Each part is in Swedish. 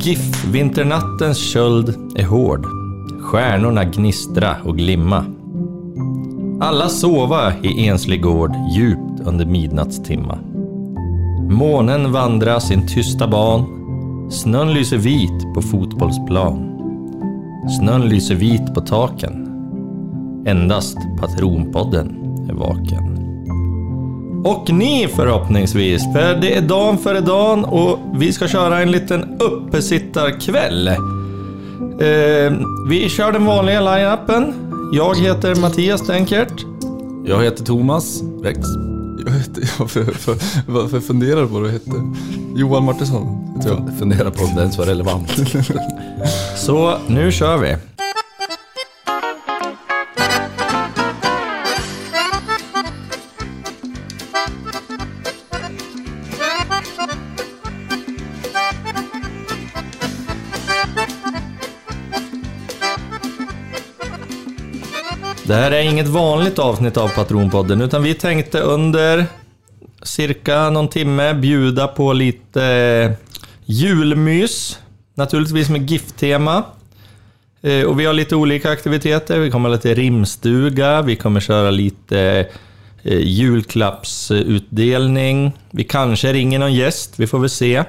GIF, vinternattens köld är hård. Stjärnorna gnistra och glimma. Alla sova i enslig gård djupt under midnattstimma. Månen vandrar sin tysta ban. Snön lyser vit på fotbollsplan. Snön lyser vit på taken. Endast Patronpodden är vaken. Och ni förhoppningsvis, för det är dan före dan och vi ska köra en liten uppesittarkväll. Eh, vi kör den vanliga line-upen. Jag heter Mattias Denkert. Jag heter Thomas Rex. Jag heter, varför, varför, varför funderar du på vad du hette? Johan Martinsson heter jag. Jag funderar på om det ens var relevant. Så nu kör vi. Det här är inget vanligt avsnitt av Patronpodden utan vi tänkte under cirka någon timme bjuda på lite eh, julmys. Naturligtvis med GIF-tema. Eh, Och vi har lite olika aktiviteter. Vi kommer ha lite rimstuga, vi kommer köra lite eh, julklappsutdelning. Vi kanske ringer någon gäst, vi får väl se. Eh,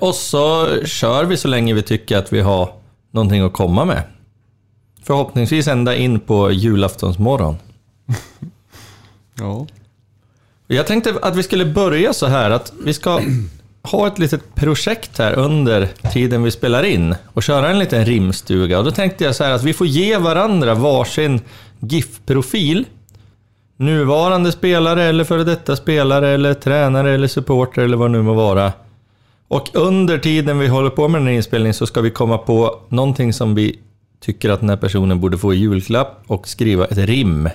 Och så kör vi så länge vi tycker att vi har någonting att komma med. Förhoppningsvis ända in på julaftonsmorgon. Ja. Jag tänkte att vi skulle börja så här att vi ska ha ett litet projekt här under tiden vi spelar in och köra en liten rimstuga. Och då tänkte jag så här att vi får ge varandra varsin GIF-profil. Nuvarande spelare eller före detta spelare eller tränare eller supporter eller vad det nu må vara. Och under tiden vi håller på med den här inspelningen så ska vi komma på någonting som vi tycker att den här personen borde få i julklapp och skriva ett rim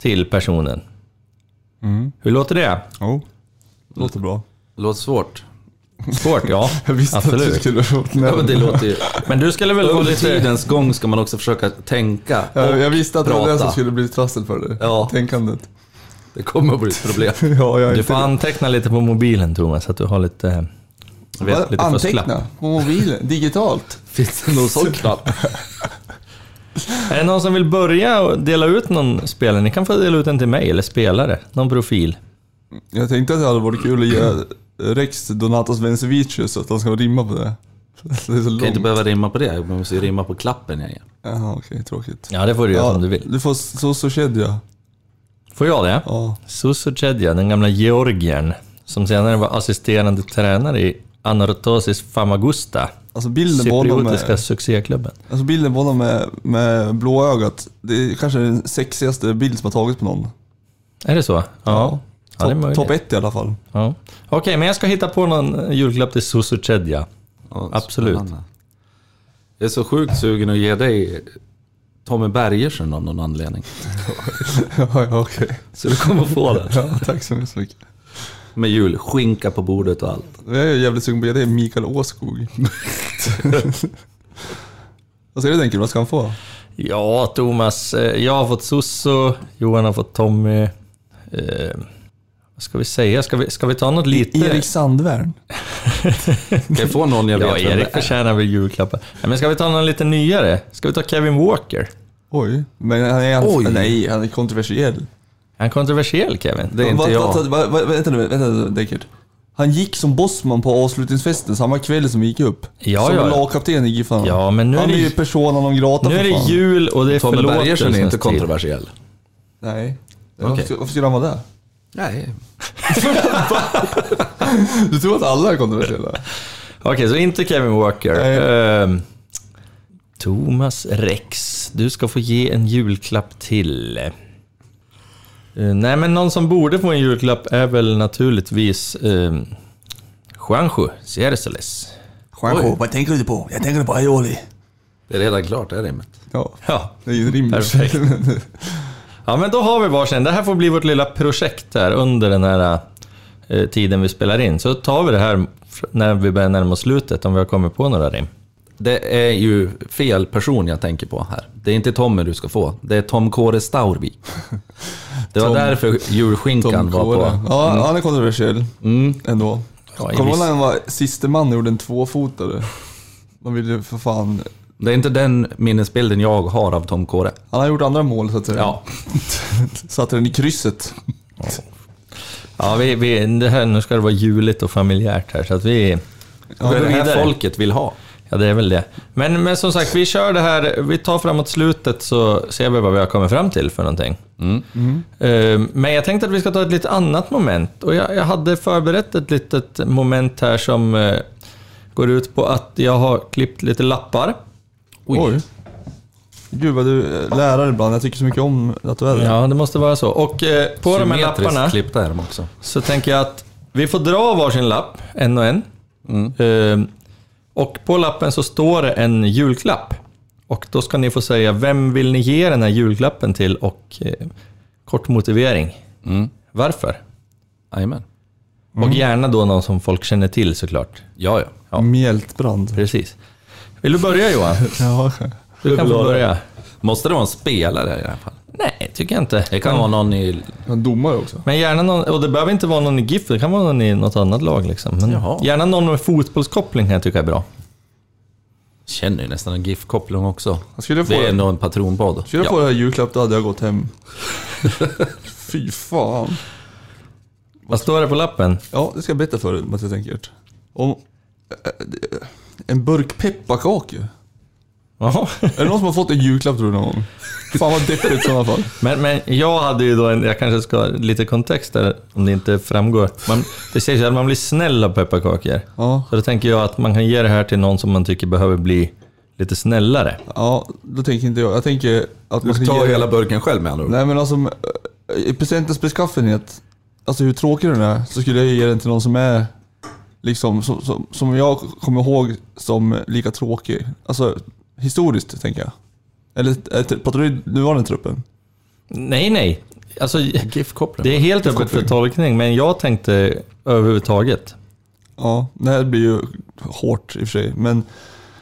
till personen. Hur låter det? Jo. Låter bra. Låter svårt. Svårt, ja. Jag visste att du Absolut. skulle vara Ja, men det snäll. låter ju... Men du skulle väl få Under lite... tidens gång ska man också försöka tänka och Jag, jag visste att det var prata. det som skulle bli trassel för dig. Ja. Tänkandet. Det kommer att bli ett problem. Ja, jag är Du inte- får anteckna lite på mobilen Thomas, så att du har lite... jag Vet, Vad? lite fusklapp. Anteckna på mobilen, digitalt. Finns det någon sån knapp? Är det någon som vill börja och dela ut någon spelare? Ni kan få dela ut en till mig, eller spelare. Någon profil. Jag tänkte att det hade varit kul att ge Rex Donatas Vencevicius så att han ska rimma på det. Det är så långt. Kan inte behöva rimma på det. Jag måste ju rimma på klappen jag ger. Jaha, okej, tråkigt. Ja, det får du göra som du vill. Du får så så kedja. Får jag det? Ja. Suso Chedja, den gamla georgiern, som senare var assisterande tränare i Anortosis Famagusta, Alltså bilden på honom cypriotiska med, succéklubben. alltså bilden på honom med, med blå ögat. Det är kanske den sexigaste bild som har tagits på någon. Är det så? Ja. ja. det är Topp- möjligt. Topp ett i alla fall. Ja. Okej, men jag ska hitta på någon julklapp till Susu Chedja. Ja, Absolut. spännande. Jag är så sjukt sugen att ge dig Tommy Bergersen av någon anledning. ja, ja, okej. Så du kommer få det. Ja, tack så hemskt mycket. Med julskinka på bordet och allt. Jag är jävligt sugen på det. Det är Mikael Åskog. Vad ska du tänka? Vad ska han få? Ja, Thomas. eh, Jag har fått Susso, Johan har fått Tommy. Eh, vad ska vi säga? Ska vi, ska vi ta något E- lite... Erik Sandvärn. Kan jag få någon jag vet ja, vem Erik det är? förtjänar väl julklappar. Nej, men ska vi ta någon lite nyare? Ska vi ta Kevin Walker? Oj. Men han är, Oj. Nej, han är kontroversiell. Är han kontroversiell, Kevin? Det är Va- inte va- jag. va- va- Vänta nu, vänta nu Deckard. Han gick som bossman på avslutningsfesten samma kväll som vi gick upp. Ja, som ja. lagkapten i GIF. Ja, men nu är han det- är ju personen om grata Nu för är det fan. jul och det är Tommy Bergersen förlåtelsens är inte tid. kontroversiell. Nej. Okej. Varför, varför skulle han vara där? Nej. Du tror att alla är kontroversiella? Okej, så inte Kevin Walker. Nej. Ehm, Thomas Rex, du ska få ge en julklapp till. Eh, nej, men någon som borde få en julklapp är väl naturligtvis um, Juanjo Cerceles. Juanjo, vad tänker du på? Jag tänker på Aioli. Det är redan klart, det är rimmet. Ja, Ja, det är ju rimligt. Perfekt. Ja, men då har vi varsin. Det här får bli vårt lilla projekt här under den här eh, tiden vi spelar in. Så tar vi det här fr- när vi börjar närma oss slutet, om vi har kommit på några rim. Det är ju fel person jag tänker på här. Det är inte Tommy du ska få. Det är Tom Kåre Staurvik. Det var därför julskinkan Tom var Kåre. på. Mm. Ja, han är kontroversiell. Ändå. Ja, i Kommer du viss- ihåg när han var siste man och gjorde en tvåfotare? Man vill ju för fan... Det är inte den minnesbilden jag har av Tom Kåre. Han har gjort andra mål så att säga. Ja. Satte den i krysset. ja, vi, vi, det här, nu ska det vara juligt och familjärt här, så att vi... det är det här vidare. folket vill ha. Ja, det är väl det. Men, men som sagt, vi kör det här. Vi tar framåt slutet så ser vi vad vi har kommit fram till för någonting. Eh, Men jag tänkte att vi ska ta ett lite annat moment. Och jag, jag hade förberett ett litet moment här som eh, går ut på att jag har klippt lite lappar. Oj. Gud vad du är lärare ibland. Jag tycker så mycket om att du är det. Ja, det måste vara så. Och eh, på de här Symmetriskt lapparna klippta är de också. så tänker jag att vi får dra varsin lapp, en och en. Mm. Eh, Och på lappen så står det en julklapp. Och då ska ni få säga vem vill ni ge den här julklappen till och eh, kort motivering. Mm. Varför? Jajamän. Och gärna då någon som folk känner till såklart. Ja, ja. Mjältbrand. Precis. Vill du börja Johan? Ja. Du kan få börja. Måste det vara en spelare i alla fall? Nej, tycker jag inte. Det kan Mm. vara någon i... En domare också. Men gärna någon, och det behöver inte vara någon i GIF, det kan vara någon i något annat lag. Liksom. Men Jaha. gärna någon med fotbollskoppling kan jag tycka är bra. Känner ju nästan en GIF-koppling också. Jag skulle få Det är det, nog en patronpodd. skulle jag få det här julklapp då hade jag gått hem. Fy fan. Vad står det på lappen? Ja, det ska jag berätta för dig Mattias jag tänker. Om, eh, eh, en burk pepparkakor. Jaha. Är det någon som har fått en julklapp tror du någon gång? Fan vad deppigt i sådana fall. Men, men jag hade ju då en, jag kanske ska ha lite kontext där om det inte framgår. Man, det sägs ju att man blir snäll av pepparkakor. Ja, Så då tänker jag att man kan ge det här till någon som man tycker behöver bli lite snällare. ja, då tänker inte jag. Jag tänker att man Du ska tar ge... hela burken själv med andra ord. Nej men alltså, eh, i presentens beskaffenhet, alltså hur tråkig den är, så skulle jag ge den till någon som är liksom, som, som, som jag kommer ihåg som lika tråkig. Alltså historiskt tänker jag. Eller eh, pratar du nuvarande truppen? Nej, nej. Alltså, GIF-koppling. det är helt öppet för tolkning, men jag tänkte överhuvudtaget. Ja, det här blir ju hårt i och för sig, men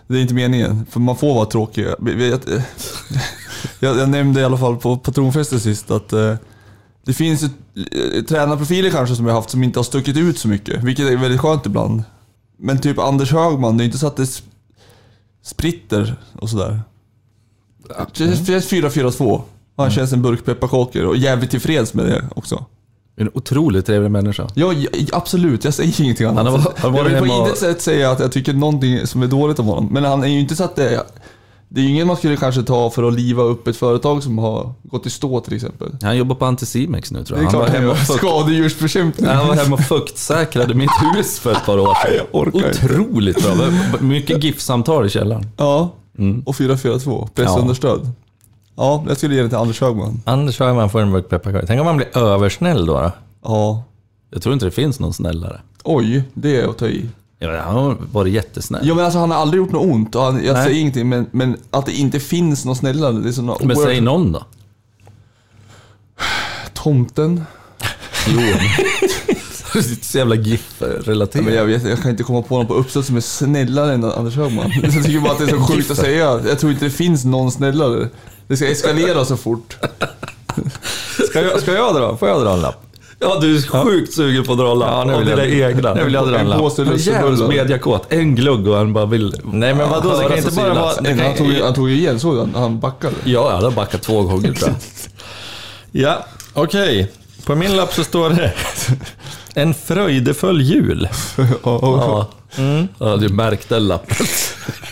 det är inte meningen. För man får vara tråkig. Jag, jag, jag, jag nämnde i alla fall på patronfesten sist att eh, det finns ju eh, tränarprofiler kanske som jag haft som inte har stuckit ut så mycket, vilket är väldigt skönt ibland. Men typ Anders Högman, det är inte så att det sp- spritter och sådär. Det känns 4-4-2. Han känns en burk pepparkakor och jävligt tillfreds med det också. En otroligt trevlig människa. Ja, ja, absolut. Jag säger ingenting annat. Han har varit- han har jag varit vill på hemma och- intet sätt säga att jag tycker någonting som är dåligt om honom. Men han är ju inte så att det är... Det är ju ingen man skulle kanske ta för att liva upp ett företag som har gått i stå till exempel. Han jobbar på Anticimex nu tror Det jag. är Han var, klart han hemma gör och fukt, skadedjursbekämpning. han var hemma och fuktsäkrade mitt hus för ett par år sedan. orkar inte. Otroligt bra. Mycket GIF-samtal i källaren. Ja, Mm. och 4-4-2. Pressunderstöd. Ja. jag skulle ge det till Anders Högman. Anders Högman får en burk pepparkakor. Tänk om man blir översnäll då? då? Ja. Jag tror inte det finns någon snällare. Oj, det är att ta i. Ja, han har varit jättesnäll. Ja men alltså han har aldrig gjort något ont. Och han, jag Nej. säger ingenting men, men att det inte finns någon snällare. Det är såna Men oerhört- säg någon då. Tomten. Jo. Det är så jävla GIF-relaterat. Ja, Men jag, vet, jag kan inte komma på någon på uppsats som är snällare än Anders Högman. Jag tycker bara att det är så sjukt att säga. Jag tror inte det finns någon snällare. Det ska eskalera så fort. Ska jag, ska jag dra? Får jag dra en lapp? Ja, du är sjukt sugen på att dra en lapp Ja, nu av vill jag- dina egna. nu vill jag dra en lapp. Han är Jävligt mediakåt. En glugg och han bara vill Nej, men vadå? Det kan höras inte och bara synas. vara... det Men kan- han, tog, ju- han tog ju igen, såg du? han? Han backade. Ja, jag hade backat två gånger tror jag. Ja, okej. På min lapp så står det en fröjdefull jul. Ja. Mm. Ja, du märkte den lappen.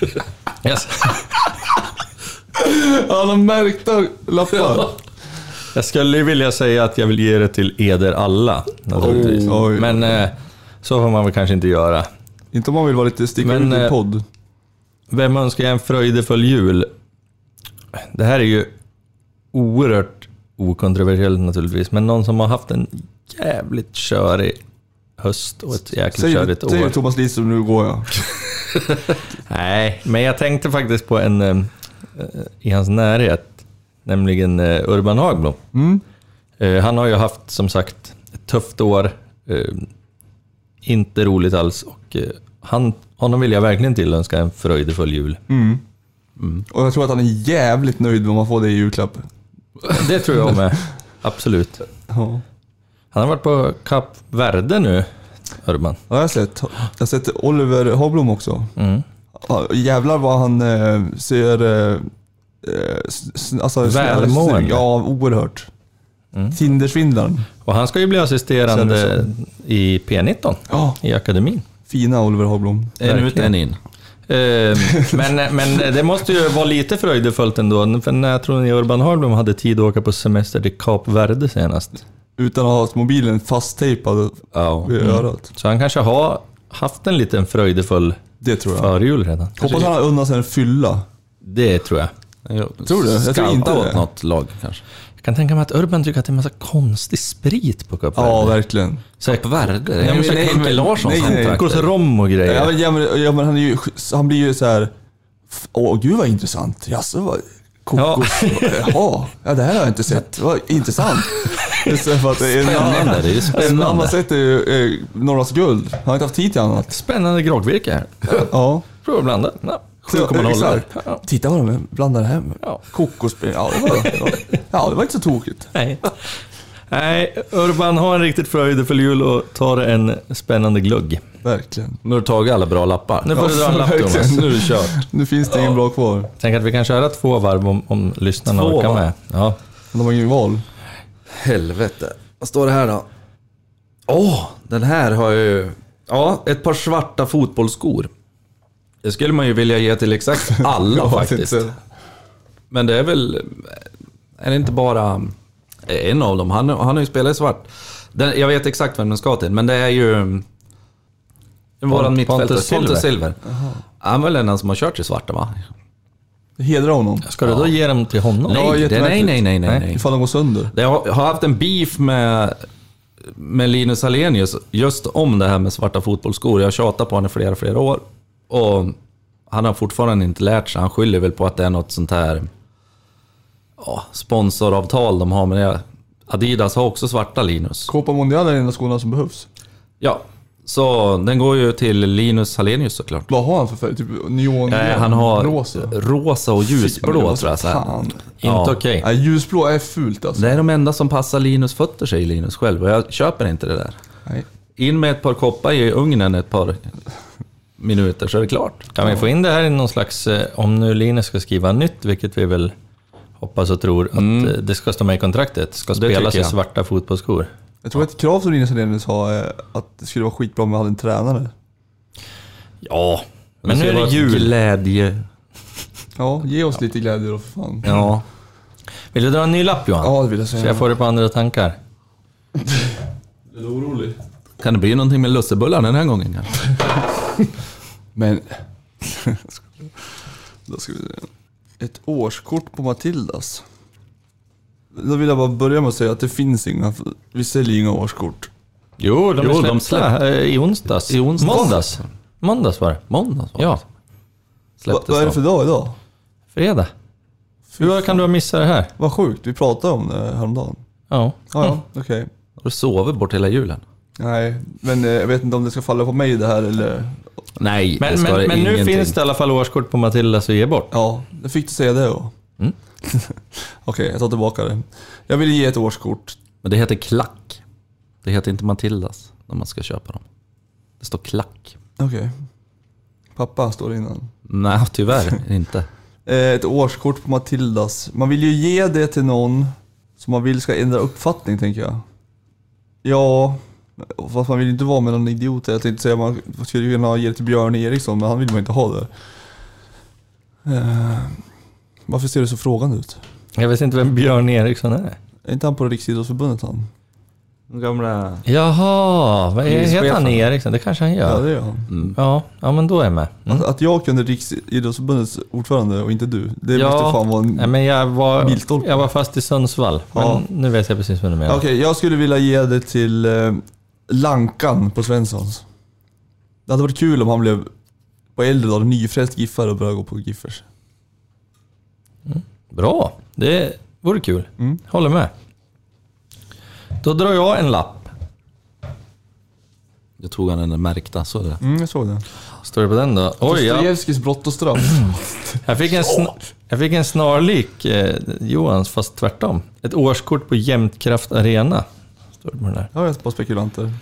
Jag, Han har märkta lappar. jag skulle ju vilja säga att jag vill ge det till eder alla, naturligtvis. Oh. Oj, oj. Men eh, så får man väl kanske inte göra. Inte om man vill vara lite sticka Men, ut i eh, podd. Vem önskar jag en fröjdefull jul? Det här är ju oerhört okontroversiellt naturligtvis, men någon som har haft en jävligt körig höst och ett jäkligt Säg körigt det säg år. det, Thomas Lidström, nu går jag. Nej, men jag tänkte faktiskt på en eh, i hans närhet, nämligen eh, Urban Hagblom. Eh, han har ju haft, som sagt, ett tufft år. Eh, inte roligt alls. Och, eh, han, honom vill jag verkligen tillönska en fröjdefull jul. Och jag tror att han är jävligt nöjd om man får det i julklapp. Det tror jag med. Absolut. Ja. Han har varit på Kap Verde nu. Urban. Ja, jag har sett. Jag har sett Oliver Hagblom också. Mm. Ja, jävlar vad han eh, ser... Eh, eh, s- s- alltså, Välmående. snygg. Ja, oerhört. Tindersvindlaren. Och han ska ju bli assisterande Kändes i P19 Ja, i akademin. fina Oliver Hagblom. En ut, en in. Eh, men, men det måste ju vara lite fröjdefullt ändå. För när jag tror ni Urban Hagblom hade tid att åka på semester till Kap Verde senast. Utan att ha mobilen fasttejpad Ja. vid örat. Så han kanske har haft en liten fröjdefull Det tror jag. förjul redan. Hoppas han har unnat sig en fylla. Det tror jag. Tror du? Jag tror inte åt det. något lag kanske. Jag kan tänka mig att Urban tycker att det är en massa konstig sprit på Kap Verde. Ja, verkligen. Kap Verde? Nej, men men, så nej, Henke men, Larsson nej, nej. Alkos rom och grejer. Ja, men, ja, men, ja, men han, är ju, han blir ju så här. f- Åh gud vad intressant. Jaså vad... Kokos... Jaha, ja, det här har jag inte sett. Vad intressant. Istället för att det är en Spännande, det är ju En spännande. annan sätt är ju eh, Norras guld. Han har inte haft tid till annat. Spännande groggvirke här. Ja. Prova att blanda. Ja. Ja, 7,0. exakt. Ja. Titta vad de blandar hem. Ja. Kokosbröd. Ja, det var, det var- ja, det var inte så tokigt. Nej. Nej, Urban har en riktigt fröjdefull jul och tar en spännande glugg. Verkligen. Nu har du tagit alla bra lappar. Nu får du dra en lapp Thomas. verkligen. Nu är det kört. Nu finns det ingen bra kvar. Tänk att vi kan köra två varv om, om lyssnarna Två orkar varv? med. Ja. De har ingen val. Helvete. Vad står det här då? Åh, den här har jag ju... Ja, ett par svarta fotbollsskor. Det skulle man ju vilja ge till exakt alla faktiskt. Men det är väl... Är det inte bara en av dem? Han, han har ju spelat i svart. Den, jag vet exakt vem den ska till, men det är ju... Våran mittfältare, Pontus Silver. Silver. Han är väl den som har kört i svarta va? Hedra honom. Ska du då ge dem till honom? Ja, Nej, det, nej, jättemärkligt. nej, nej, nej, nej. Ifall de går sönder. Jag har har haft en beef med, med Linus Alenius just om det här med svarta fotbollsskor. Jag har tjatat på honom i flera, flera år. Och han har fortfarande inte lärt sig. Han skyller väl på att det är något sånt här ja, sponsoravtal de har. Men jag, Adidas har också svarta Linus. Copa Mondial är den enda skorna som behövs. Ja, så den går ju till Linus Hallenius såklart. Vad har han för färg? Typ neon? Nej, han har Rosa? rosa och ljusblå tror jag. Så här. Fan. Inte okej. Nej, ljusblå är fult alltså. Det är de enda som passar Linus fötter säger Linus själv och jag köper inte det där. Nej. In med ett par koppar i ugnen ett par minuter så är det klart. Kan vi få in det här i någon slags, eh, om nu Linus ska skriva nytt, vilket vi väl hoppas och tror, att eh, det ska stå med i kontraktet. Ska Mm. Det spelas tycker i jag. svarta fotbollsskor. Jag tror att ett krav som Linus Hallenius har är eh, att det skulle vara skitbra om vi hade en tränare. Ja, men ska nu är vara det ett jul. Glädje. Ja, ge oss lite glädje då för fan. Ja. Vill du dra en ny lapp Johan? Ja, det vill jag säga. Så jag får det på andra tankar. Är du orolig? Kan det bli någonting med lussebullarna den här gången kanske? Men... då ska vi se. Ett årskort på Matildas. Då vill jag bara börja med att säga att det finns inga, vi säljer inga årskort. Jo, de Jo, är de släppta eh, i onsdags. I onsdags. Måndags. Måndags var det. Måndag va? Ja, Va, släpptes vad är det för de. dag idag? fredag. Hur kan du ha missat det här? Vad sjukt, vi pratade om det häromdagen. Ja. Ja, Mm. ja, okej. Har du sovit bort hela julen? Nej, men eh, jag vet inte om det ska falla på mig det här eller... Nej, det Men, ska det men, men nu ingenting. finns det i alla fall årskort på Matildas att ge bort. Ja, jag fick du säga det då. Mm. Okej, jag tar tillbaka det. Jag vill ge ett årskort. Men det heter klack. Det heter inte Matildas när man ska köpa dem. Det står klack. Okej. Pappa står det innan. Nej, tyvärr inte. Eh, Ett årskort på Matildas. Man vill ju ge det till någon som man vill ska ändra uppfattning tänker jag. Ja, fast man vill ju inte vara med någon idiot. Jag tänkte säga man skulle kunna ge det till Björn Eriksson, men han vill man inte ha där. Eh, Varför ser du så frågande ut? Jag vet inte vem Björn Eriksson är. Är inte han på Riksidrottsförbundet han? Gamla... Jaha, vad är, Polischefen. heter han Eriksson? Det kanske han Ja, gör. det är han. Ja, ja men då är jag med. Mm. Att, att jag kunde Riksidrottsförbundets ordförande och inte du, det Ja. måste fan vara en... Nej, men jag, var, Milstolpe. jag var fast i Sundsvall, men Ja. nu vet jag precis vad du menar. Okej, jag skulle vilja ge det till eh, Lankan på Svenssons. Det hade varit kul om han blev på äldre dagar nyfrälst giffare och började gå på giffers. Bra, det vore kul. Mm. Håller med. Då drar jag en lapp. Jag tog han den där märkta, så det. Mm, jag såg det. Står det på den då? Oj, ja. Dostojevskijs brott och straff. Jag fick, en sn- jag fick en snarlik eh, Johans, fast tvärtom. Ett årskort på Jämtkraft Arena. Står det på den här. Jag har ett par spekulanter.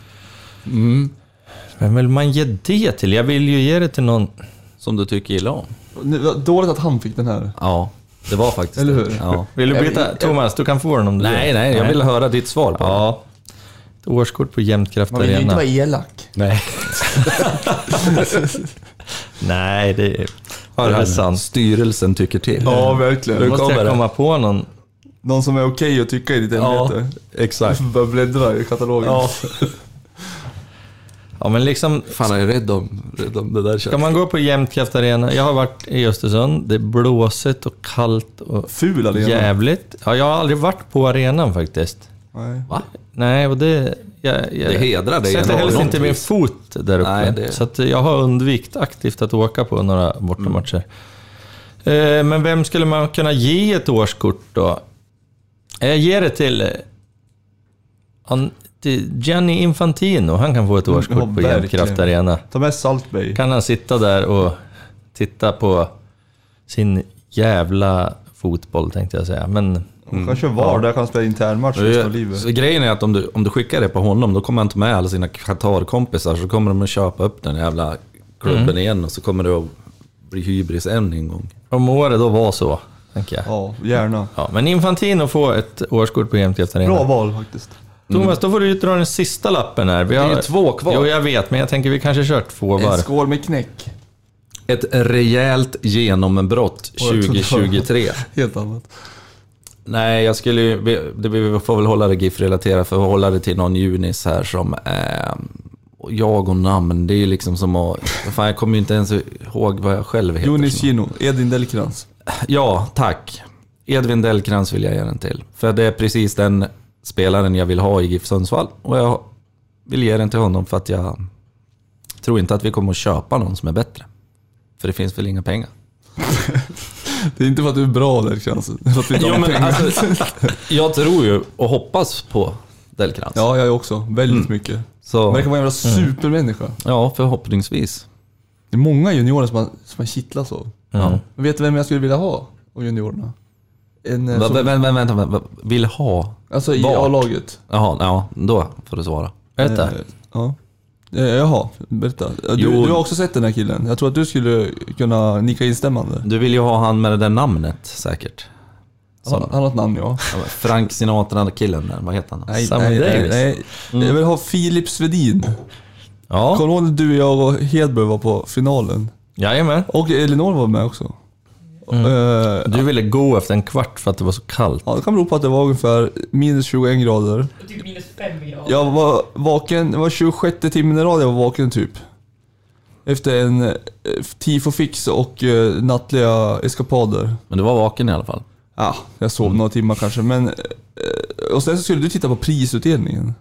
Vem vill man ge det till? Jag vill ju ge det till någon... Som du tycker illa om. Nu, vad Dåligt att han fick den här. Ja, det var faktiskt Eller det. hur? Ja. Vill du Jag- byta? Thomas, du kan få den om du Nej, vill. nej, jag vill höra ditt svar på det. Ja. Ett årskort på Jämtkraft Man vill ju inte Arena. vara elak. Nej. nej, det är, Hör det är här, sant. Styrelsen tycker till. Nu verkligen. måste kommer jag det. komma på någon. Någon som är okej att tycka i ditt Ja, ämbete. exakt. Bara bläddra i katalogen. Ja, men liksom, Fan, jag är rädd om, rädd om det där ska köttet. man gå på Jämtkraft Arena? Jag har varit i Östersund. Det är blåsigt och kallt och Ful alena. jävligt. Ja, jag har aldrig varit på arenan faktiskt. Nej. Va? Nej, och det... Jag, jag Det hedrar dig sätter ändå, helst någon inte min vis. fot där uppe. Nej, det- Så att jag har undvikit aktivt att åka på några bortamatcher. Mm. Eh, Men vem skulle man kunna ge ett årskort då? Eh, Jag ger det till... eh, han- till Gianni Infantino. Han kan få Mm, ett årskort ja, på verkligen. Jämtkraft Arena. Ta med Saltberg. Kan han sitta där och titta på sin jävla fotboll, tänkte jag säga. Men... Mm. Kanske VAR där kan spela internmatch resten av livet. Så Grejen är att om du, om du skickar det på honom, då kommer han inte med alla sina Qatar-kompisar. Så kommer de att köpa upp den jävla klubben igen och så kommer det att bli hybris än en gång. Om året då var så, tänker jag. Ja, gärna. Ja, men Infantino får ett årskort på Jämtkraft Arena. Bra val faktiskt. Thomas, då får du ju dra den sista lappen här. Vi Det är ju två kvar. Jo, jag vet, men jag tänker vi kanske kört två var. En skål med knäck. Ett rejält genombrott Oj, jag trodde det var- 2023. Helt annat. Nej, jag skulle ju, vi- det, vi får väl hålla det GIF-relaterat för att hålla det till någon Junis här som... Eh, och jag och namn, det är ju liksom som att... Fan, jag kommer ju inte ens ihåg vad jag själv heter. Jonis Gino, Edin Delkrans. Ja, tack. Edvin Delkrans vill jag ge den till. För det är precis den spelaren jag vill ha i GIF Sundsvall. Och jag vill ge den till honom för att jag tror inte att vi kommer att köpa någon som är bättre. För det finns väl inga pengar. Det är inte för att du är bra Delkrans. det är för att vi inte har pengar. alltså, jag tror ju och hoppas på Delkrans. Ja, jag också. Väldigt Mm. mycket. Så, Verkar vara en jävla Mm. supermänniska. ja, förhoppningsvis. Det är många juniorer som man, som man kittlas av. Ja. Men vet du vem jag skulle vilja ha av juniorerna? En, eh, Va, som, va, vänta, vänta, vänta. Vill ha? alltså i vart? A-laget. Jaha, ja, då får du svara. Vänta. Eh, Ja. Eh, Jaha, berätta. Eh, Du, Jo. du har också sett den här killen. Jag tror att du skulle kunna nicka instämmande. Du vill ju ha han med det där namnet säkert. Han, han har ett namn ja. Ja, men Frank Sinatra-killen där, vad heter han? Sammy Davis. nej. Mm. Jag vill ha Filip Svedin. Ja, Kommer du ihåg när du, jag och Hedberg var på finalen? jajamän. Och Elinor var med också. Eh, Du ville gå efter en kvart för att det var så kallt. Ja, det kan bero på att det var ungefär minus 21 grader. Typ minus fem grader. Jag var vaken, det var 26 timmen i rad jag var vaken typ. Efter en eh, tifofix och eh, nattliga eskapader. Men du var vaken i alla fall. Ja, jag sov några timmar kanske men... eh, Och sen så skulle du titta på prisutdelningen.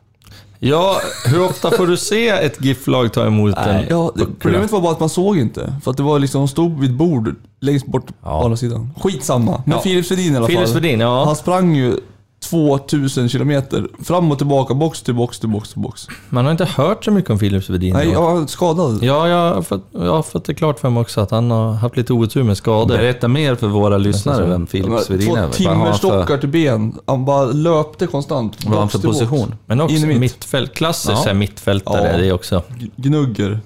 Ja, hur ofta får du se ett GIF-lag ta emot en? Ja, det, problemet var bara att man såg inte. För att det var liksom, de stod vid ett bord längst bort på andra sidan. Skitsamma. Men Ja. Filip Svedin i alla Filip fall. Svedin, ja. Han sprang ju 2000 kilometer. Fram och tillbaka, box till box till box till box. Man har inte hört så mycket om Filip Svedin. Nej, då. jag var skadad. Ja, jag har, fått, jag har fått det klart för mig också att han har haft lite otur med skador. Berätta mer för våra lyssnare vem Filip Svedin är. Två timmerstockar till ben. Han bara löpte konstant. Vad har han box för till box. position? Men också In i mitt. mittfält. Klassisk Ja. ja. mittfältare, Ja. det är också. G- Gnugger.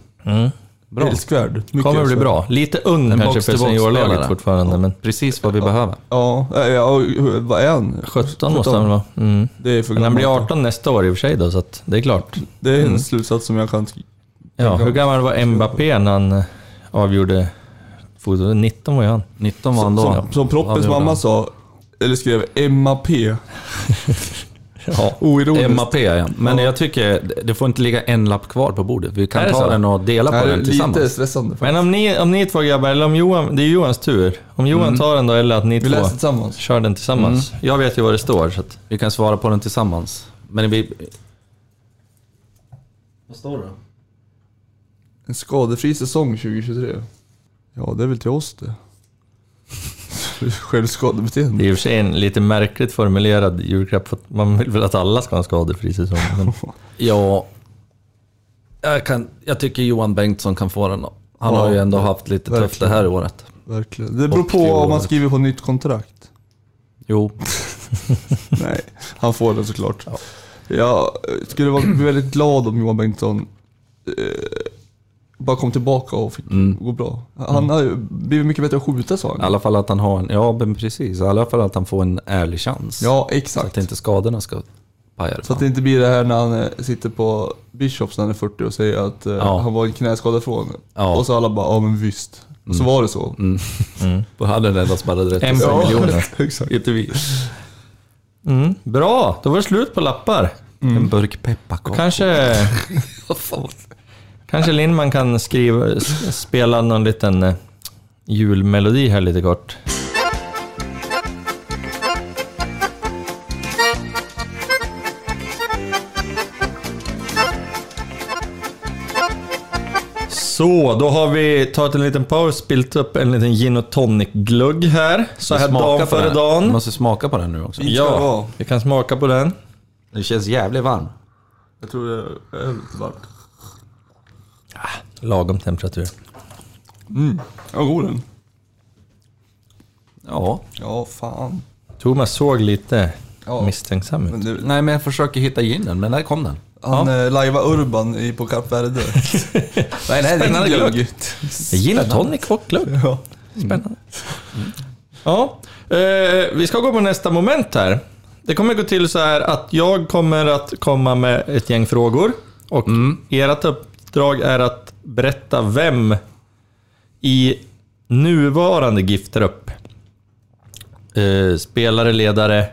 Bra. Älskvärd. Mycket Kommer bli älskvärd. bra. Lite ung En kanske för box-to-box seniorlaget spelare. fortfarande, men Precis vad vi behöver. Ja, eh, ja, ja, hur- vad är han? 17 måste han väl vara. Mm. Det är för Men han gammalt. blir 18 nästa år i och för sig då, så att det är klart. Det är en Mm. slutsats som jag kan... Ja, hur gammal var Mbappé när han eh, avgjorde fotboll? 19 var ju han. 19 var han då. Som, som Ja, Proppens det gjorde mamma han. sa, eller skrev, MAP. Ja. Oironiskt. MAP ja. Men Ja. jag tycker det får inte ligga en lapp kvar på bordet. Vi Är kan det ta så? den och dela Det här på är den lite tillsammans. stressande faktiskt. Men om ni, om ni två grabbar, eller om Johan, det är ju Johans tur. Om Johan tar den då, eller att ni Vi två läser tillsammans. kör den tillsammans. Jag vet ju vad det står. Så att, Vi kan svara på den tillsammans. Men vi... Vad står det då? En skadefri säsong 2023. Ja, det är väl till oss det. det Självskadebeteende. är i och för sig en lite märkligt formulerad julklapp, för att man vill väl att alla ska ha en skadefri säsong. Men, Ja... Jag, kan, jag tycker Johan Bengtsson kan få den då. Han Ja, har ju ändå haft lite tufft det verkligen. här året. Verkligen. Det beror på Och om man året. skriver på nytt kontrakt. Jo, Nej, han får den såklart. Jag skulle vara väldigt glad om Johan Bengtsson eh, bara kom tillbaka och fick gå bra. Han har ju blivit mycket bättre att skjuta sa I han. Mm. alla fall att han har en, ja men precis, i alla fall att han får en ärlig chans. Ja, så att exakt. inte skadorna ska paja det. Så att det inte blir det här när han eh, sitter på Bishops när han är 40 och säger att eh, Ja. han var en knäskada från. Ja. Mm. Och så alla bara, ja men visst. Och så var det så. Då hade den enda som hade rätt. En Ja. per miljon. exakt. Inte vi. Mm, bra, då var det slut på lappar. Mm. En burk pepparkakor. Kanske, Vad fan var det? kanske Lindman kan skriva, s- spela någon liten eh, julmelodi här lite kort. Så, då har vi tagit en liten paus, spilt upp en liten gin och tonic-glugg här. Så här Smaka på dagen före den. dagen. Vi måste smaka på den nu också. Inte ska det vara. Ja, vi kan smaka på den. Den känns jävligt varm. Jag tror det är lite varmt. Lagom temperatur. Ja, god den. Ja. Ja, fan. Thomas såg lite Ja. misstänksam Men ut. det, Nej men jag försöker hitta ginen, men där kom den. han ja. lajvar Urban i, på Kap Verde. Nej, nej, det Spännande glögg. glögg. Gin och tonic och glögg. Ja. Spännande. Ja, eh, vi ska gå på nästa moment här. Det kommer gå till så här att jag kommer att komma med ett gäng frågor. Och ert uppdrag är att berätta vem i nuvarande GIF-trupp, eh, spelare, ledare,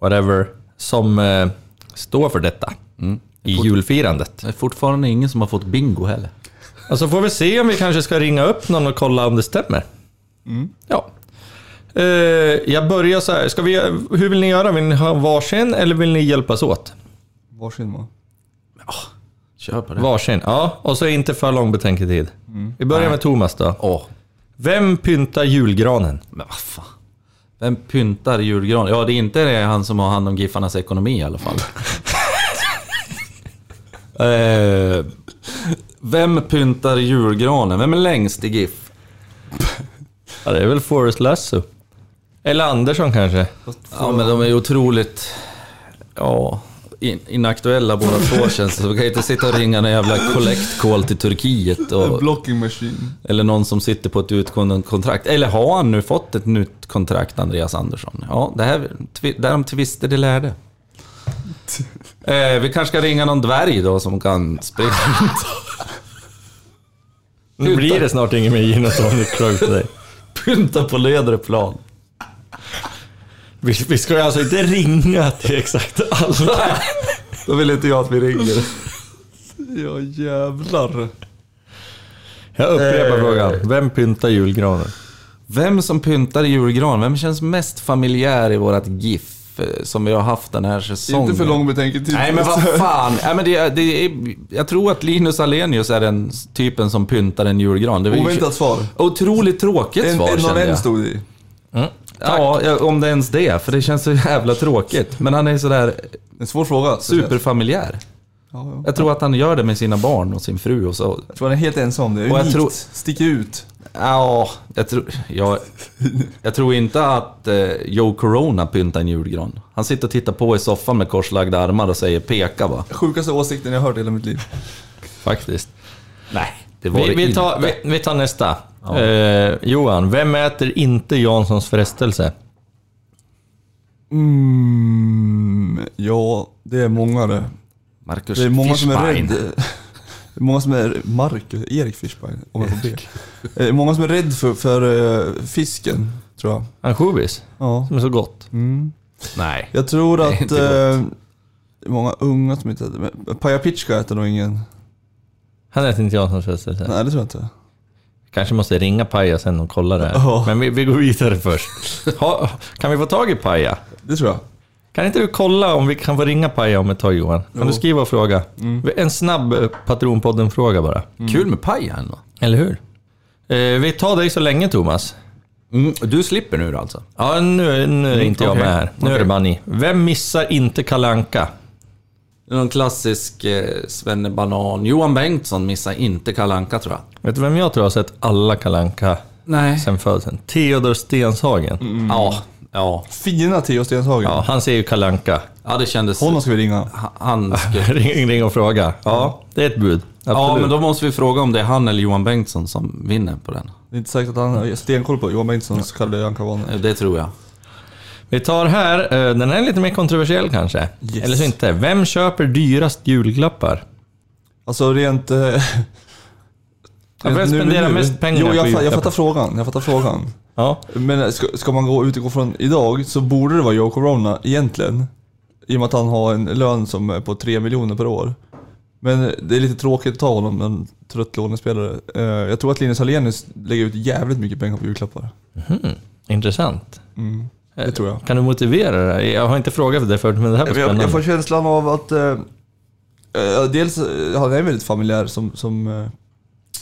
whatever, som eh, står för detta Mm. i julfirandet. Det är fortfarande ingen som har fått bingo heller. Och så Alltså, får vi se om vi kanske ska ringa upp någon och kolla om det stämmer. Ja. Eh, jag börjar så här. Ska vi, hur vill ni göra? Vill ni ha varsin eller vill ni hjälpas åt? Varsin man. Kör på det. Varsin, ja. Och så inte för lång betänketid. Vi börjar med Thomas då. Åh, Vem pyntar julgranen? men vad fan. Vem pyntar julgran? Ja, det är inte det han som har hand om Giffarnas ekonomi i alla fall. eh, vem pyntar julgranen? Vem är längst i GIF? Ja, det är väl Forrest Lasso. Eller Andersson kanske. Ja, men de är ju otroligt... Ja, in, inaktuella båda två känns det som. Vi kan ju inte sitta och ringa en jävla collect call till Turkiet. Och, Blocking machine. Eller någon som sitter på ett utgående kontrakt. Eller har han nu fått ett nytt kontrakt, Andreas Andersson? Ja, det här, tvi, därom tvister de lärde. Eh, vi kanske ska ringa någon dvärg då som kan springa runt. Nu blir det snart ingen mer gin och tonic tror jag för dig. Pynta på lödre plan. Vi, vi ska ju alltså inte ringa till exakt alla. Då vill inte jag att vi ringer. Ja, jävlar. Jag upprepar Eh. frågan. Vem pyntar julgranen? Vem som pyntar i julgran? Vem känns mest familjär i vårt GIF eh, som vi har haft den här säsongen? Inte för lång betänketid. Nej men vad fan. Nej, men det, det är, jag tror att Linus Alenius är den typen som pyntar en julgran. Det var ju- Oväntat svar. Otroligt tråkigt En, svar en av kände en jag. stod i. Ja, ja, om det ens det. För det känns så jävla tråkigt. Men han är sådär En svår fråga. superfamiljär. Ja, ja. Jag tror att han gör det med sina barn och sin fru och så. Jag tror han är helt ensam. Det är Och jag unikt. tror- Sticker ut. Ja, jag tror, jag, jag tror inte att eh, Joe Corona pyntar en julgran. Han sitter och tittar på i soffan med korslagda armar och säger peka va. Sjukaste åsikten jag hört i hela mitt liv. Faktiskt. Nej, det var Vi, det vi, inte. tar, vi, vi tar nästa. Eh, Johan, vem äter inte Janssons frestelse? Mm, ja, det är många det. Marcus Det är många som är Fischbein. rädd. Det är många som är... Marcus? Erik Fischbein, om jag får be. Det är många som är rädd för, för eh, fisken, tror jag. Ansjovis, Ja. som är så gott. Nej. Jag tror Nej, att... inte eh, det är många unga som inte äter... men Paja Pitschka äter nog ingen. Han äter inte Janssons frestelse. Nej, det tror jag inte. Kanske måste ringa Paja sen och kolla det här. Ja. Men vi, vi går vidare först. Ha, kan vi få tag i Paja? Det tror jag. Kan inte du kolla om vi kan få ringa Paja om ett tag Johan? Kan du skriva och fråga? En snabb eh, Patronpodden-fråga bara. Kul med paj ändå. Eller hur? Eh, vi tar dig så länge Thomas. Mm, du slipper nu alltså? Ja, nu, nu är inte jag okej. med här. Nu är det Okej. Bunny. Vem missar inte Kalanka? Någon klassisk eh, svennebanan. Johan Bengtsson missar inte Kalle Anka tror jag. Vet du vem jag tror har sett alla Kalanka Nej. sen födseln? Theodor Stenshagen. Ja, ja. Fina Theo Stenshagen. Ja, han ser ju Kalanka. Ja, det kändes... Honom ska vi ringa. Han skulle... ring, ring och fråga. Ja, det är ett bud. absolut. Ja, men då måste vi fråga om det är han eller Johan Bengtsson som vinner på den. Det är inte säkert att han har stenkoll på Johan Bengtsson så kallade Jankarvanen. Eh, Det tror jag. Vi tar här, eh, den här är lite mer kontroversiell kanske. Yes. Eller så inte. Vem köper dyrast julklappar? Alltså rent... eh, vem rent spenderar mest pengar Jo, på jag, fa- jag julklappar? fattar frågan. Jag fattar frågan. Ja. Men ska, ska man gå utgå från idag så borde det vara Joe Corona egentligen. I och med att han har en lön som är på 3 miljoner per år. Men det är lite tråkigt att ta honom, en trött lånespelare. Eh, Jag tror att Linus Hallenius lägger ut jävligt mycket pengar på julklappar. Intressant. Det tror jag. Kan du motivera det? här? Jag har inte frågat det förut, men det här var Men Jag, spännande. jag får känslan av att eh, eh, dels eh, han är väldigt familjär som, som eh,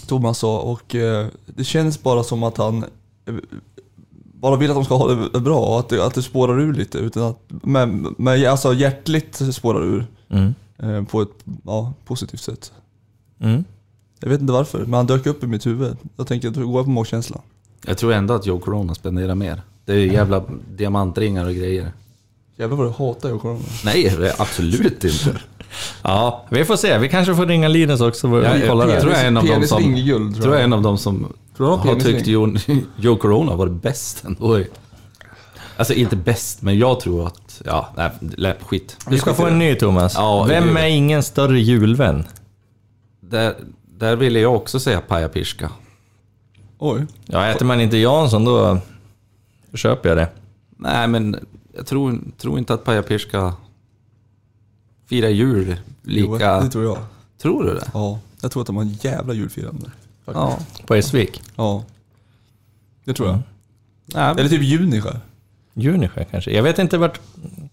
Thomas sa och eh, det känns bara som att han eh, bara vill att de ska ha det bra och att det, att det spårar ur lite. Utan att, men, men alltså hjärtligt spårar ur Mm. eh, på ett ja, positivt sätt. Mm. Jag vet inte varför, men han dök upp i mitt huvud. Jag tänker, då går jag på magkänslan. Jag tror ändå att Joe Corona spenderar mer. Det är ju jävla diamantringar och grejer. Jävlar vad du hatar jag corona. Nej, det är absolut inte. Ja, vi får se. Vi kanske får ringa Linus också och Jag, kolla det. tror jag är en av dem som, Penisring i guld, tror tror jag. jag är en av dem som Tror du han har har penisring? tyckt Jon- Joe Corona var bäst ändå. i- Alltså inte bäst, men jag tror att... Ja, nej, lä- skit. Du ska få en ny Thomas. Ja, Vem det- är ingen större julvän? Där, där ville jag också säga pajapirska. Oj. Ja, äter man inte Jansson då köper jag det. Nej, men jag tror, tror inte att pajapirska firar jul Jo, lika... det tror jag. Tror du det? Ja, jag tror att de har en jävla julfirande. Ja. På Essvik. Ja. Det tror jag. Nej, men- Eller typ juni kanske. Junisjö kanske. Jag vet inte vart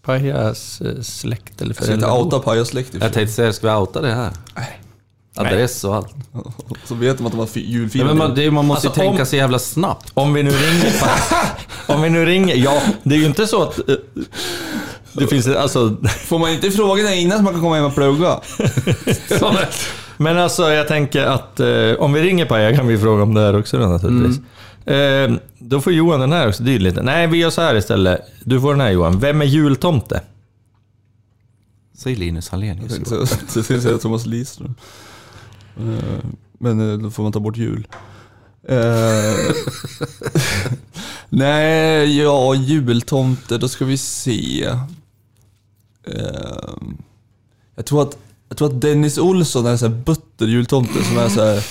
Pajas eh, släkt eller Så inte föräldrar bor. outa Pajas släkt i och för Jag tänkte säga, ska vi outa det här? Adress och allt. sig. Så vet de att de har fi- Nej, men julfirande. man, det, är- man måste Alltså, ju tänka om- så jävla snabbt. Om vi nu ringer... om vi nu ringer... Ja, det är ju inte så att... eh, Det finns ett- alltså... Får man inte fråga det innan så man kan komma hem och plugga? Men alltså jag tänker att eh, om vi ringer Paja kan vi fråga om det här också då, naturligtvis. Mm. Eh, då får Johan den här också, det är ju lite. Nej, vi gör så här istället. Du får den här Johan. Vem är jultomte? Säg Linus Hallenius. Så så ska jag säga Thomas Lidström. Eh, Men eh, då får man ta bort jul. Eh, Nej, ja jultomte, då ska vi se. Eh, Jag tror att, jag tror att Dennis Olsson är en sån här butter jultomte som är så här.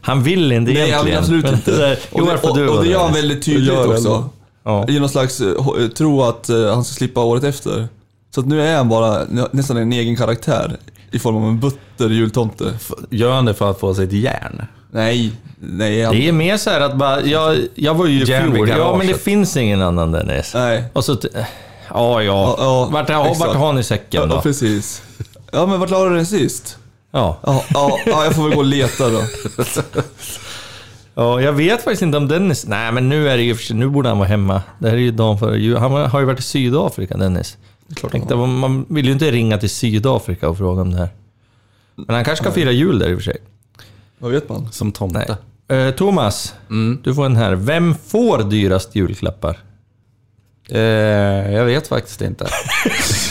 Han vill inte Nej, egentligen. absolut Men inte. det där- Och Jo, det, varför du och, och var det där. gör han väldigt tydligt Gör det också. ändå. Ja. I någon slags eh, ho- eh, tro att eh, han ska slippa året efter. Så att nu är han bara nä- nästan en egen karaktär i form av en butter jultomte. Gör han det för att få sig ett järn? Nej, nej. Han, Det är mer så här att bara, jag, jag var ju i Järn vid fjol. Ja, garaget. men det finns ingen annan Dennis. nej. Och så... t- Ja, ja. ja, vart, ja, exakt. vart har ni Ja, säcken ja, då? precis. Ja men vart la du den sist? Ja. Ja, ja, ja, jag får väl gå och leta då. ja, jag vet faktiskt inte om Dennis... Nej, men nu är det ju... för sig- Nu borde han vara hemma. Det här är ju dagen före jul. Han har ju varit i Sydafrika, Dennis. Tänkte, man vill ju inte ringa till Sydafrika och fråga om det här. Men han kanske ska fira jul där i och för sig. Vad vet man? Som tomte? Nej. Eh, Thomas, Mm. du får en här. Vem får dyrast julklappar? Eh, jag vet faktiskt inte.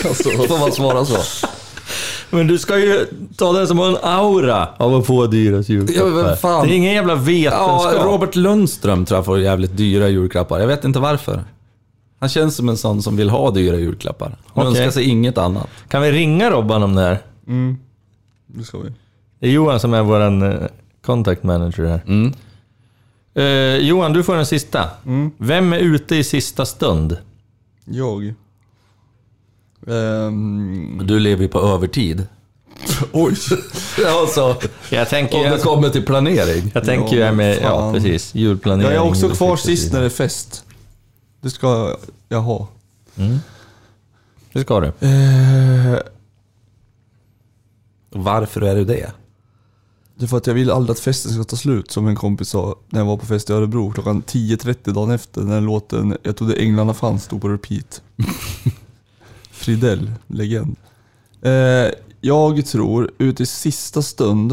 Alltså, Får man svara så? Men du ska ju ta den som har en aura av att få dyrast julklappar. Ja, men vem fan? Det är ingen jävla Ja, vetenskap. Robert Lundström tror jag får jävligt dyra julklappar. Jag vet inte varför. Han känns som en sån som vill ha dyra julklappar. Okej. Han önskar sig inget annat. Kan vi ringa Robban om det här? nu ska vi. Det är Johan som är vår eh, contact manager här. Mm. Eh, Johan, du får den sista. Vem är ute i sista stund? Jag. Ehm, Du lever ju på övertid. oj. Ja, så. Jag tänker Om det kommer till planering. jag tänker ju Ja, här med, ja fan. precis, julplanering. Jag är också och kvar precis. sist när det är fest. Det ska jag ha. Mm. Det ska du. Eh, Varför är du det? Det är för att jag vill aldrig att festen ska ta slut som en kompis sa när jag var på fest i Örebro klockan 10.30 dagen efter när låten Jag trodde änglarna fanns stod på repeat. Fridell, legend. Eh, jag tror, ut i sista stund.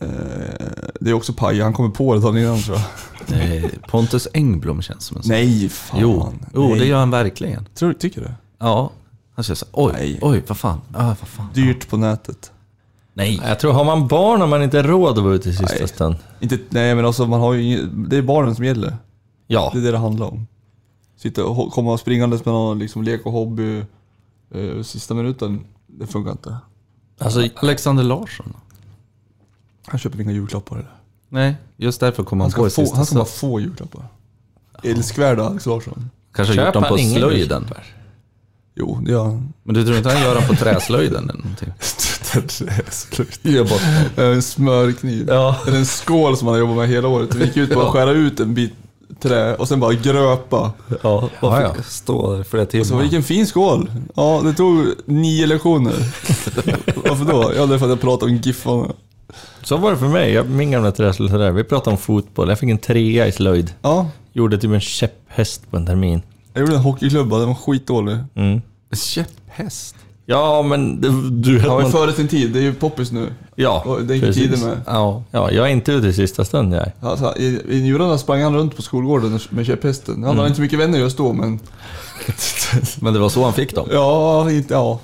Eh, det är också paj, han kommer på det dagen innan tror jag. Nej, Pontus Engblom känns som en sån. Nej fan. Jo, jo Nej. det gör han verkligen. Tror, tycker du? Ja, han känns så oj, Nej. oj, vad fan. Ah, vad fan. Dyrt på nätet. Nej. Jag tror, har man barn har man inte råd att vara ute i sista Nej. stund. Inte, nej men alltså man har ju ingen, det är barnen som gäller. Ja, Det är det det handlar om. Sitta och ho- komma springandes med någon liksom lek och hobby eh, sista minuten, det funkar inte. alltså Alexander Larsson? Han köper inga julklappar eller? Nej, just därför kom han, Han på ska, få, det sista. han ska så- bara få julklappar. Älskvärda Alex Larsson. Kanske har köp gjort dem på han ingen slöjden. julklappar. Jo, det gör han. Men du tror inte han gör dem på träslöjden eller någonting? Det är så klart. En smörkniv. Ja. Eller en skål som man har jobbat med hela året. Vi gick ut på att skära ut en bit trä och sen bara gröpa. Ja, bara Ja, fick ja. stå där flera timmar. Så vilken fin skål! Ja, det tog nio lektioner. Varför då? Ja, det är för att jag pratade om Giffarna. Så var det för mig. Jag, min gamla träsel sådär. Vi pratade om fotboll. Jag fick en trea i slöjd. Ja, Gjorde typ en käpphäst på en termin. Mm. jag gjorde en hockeyklubba, den var skitdålig. Käpphäst? Ja, men det- du... Ja, men man, före sin tid, det är ju poppis nu. ja, Och Det gick precis. tiden med. Ja. Ja, jag är inte ute i sista stund jag. är. Alltså, I i njurarna sprang han runt på skolgården med käpphästen. Han Mm. hade inte mycket vänner just då, men Men det var så han fick dem? ja, inte, ja.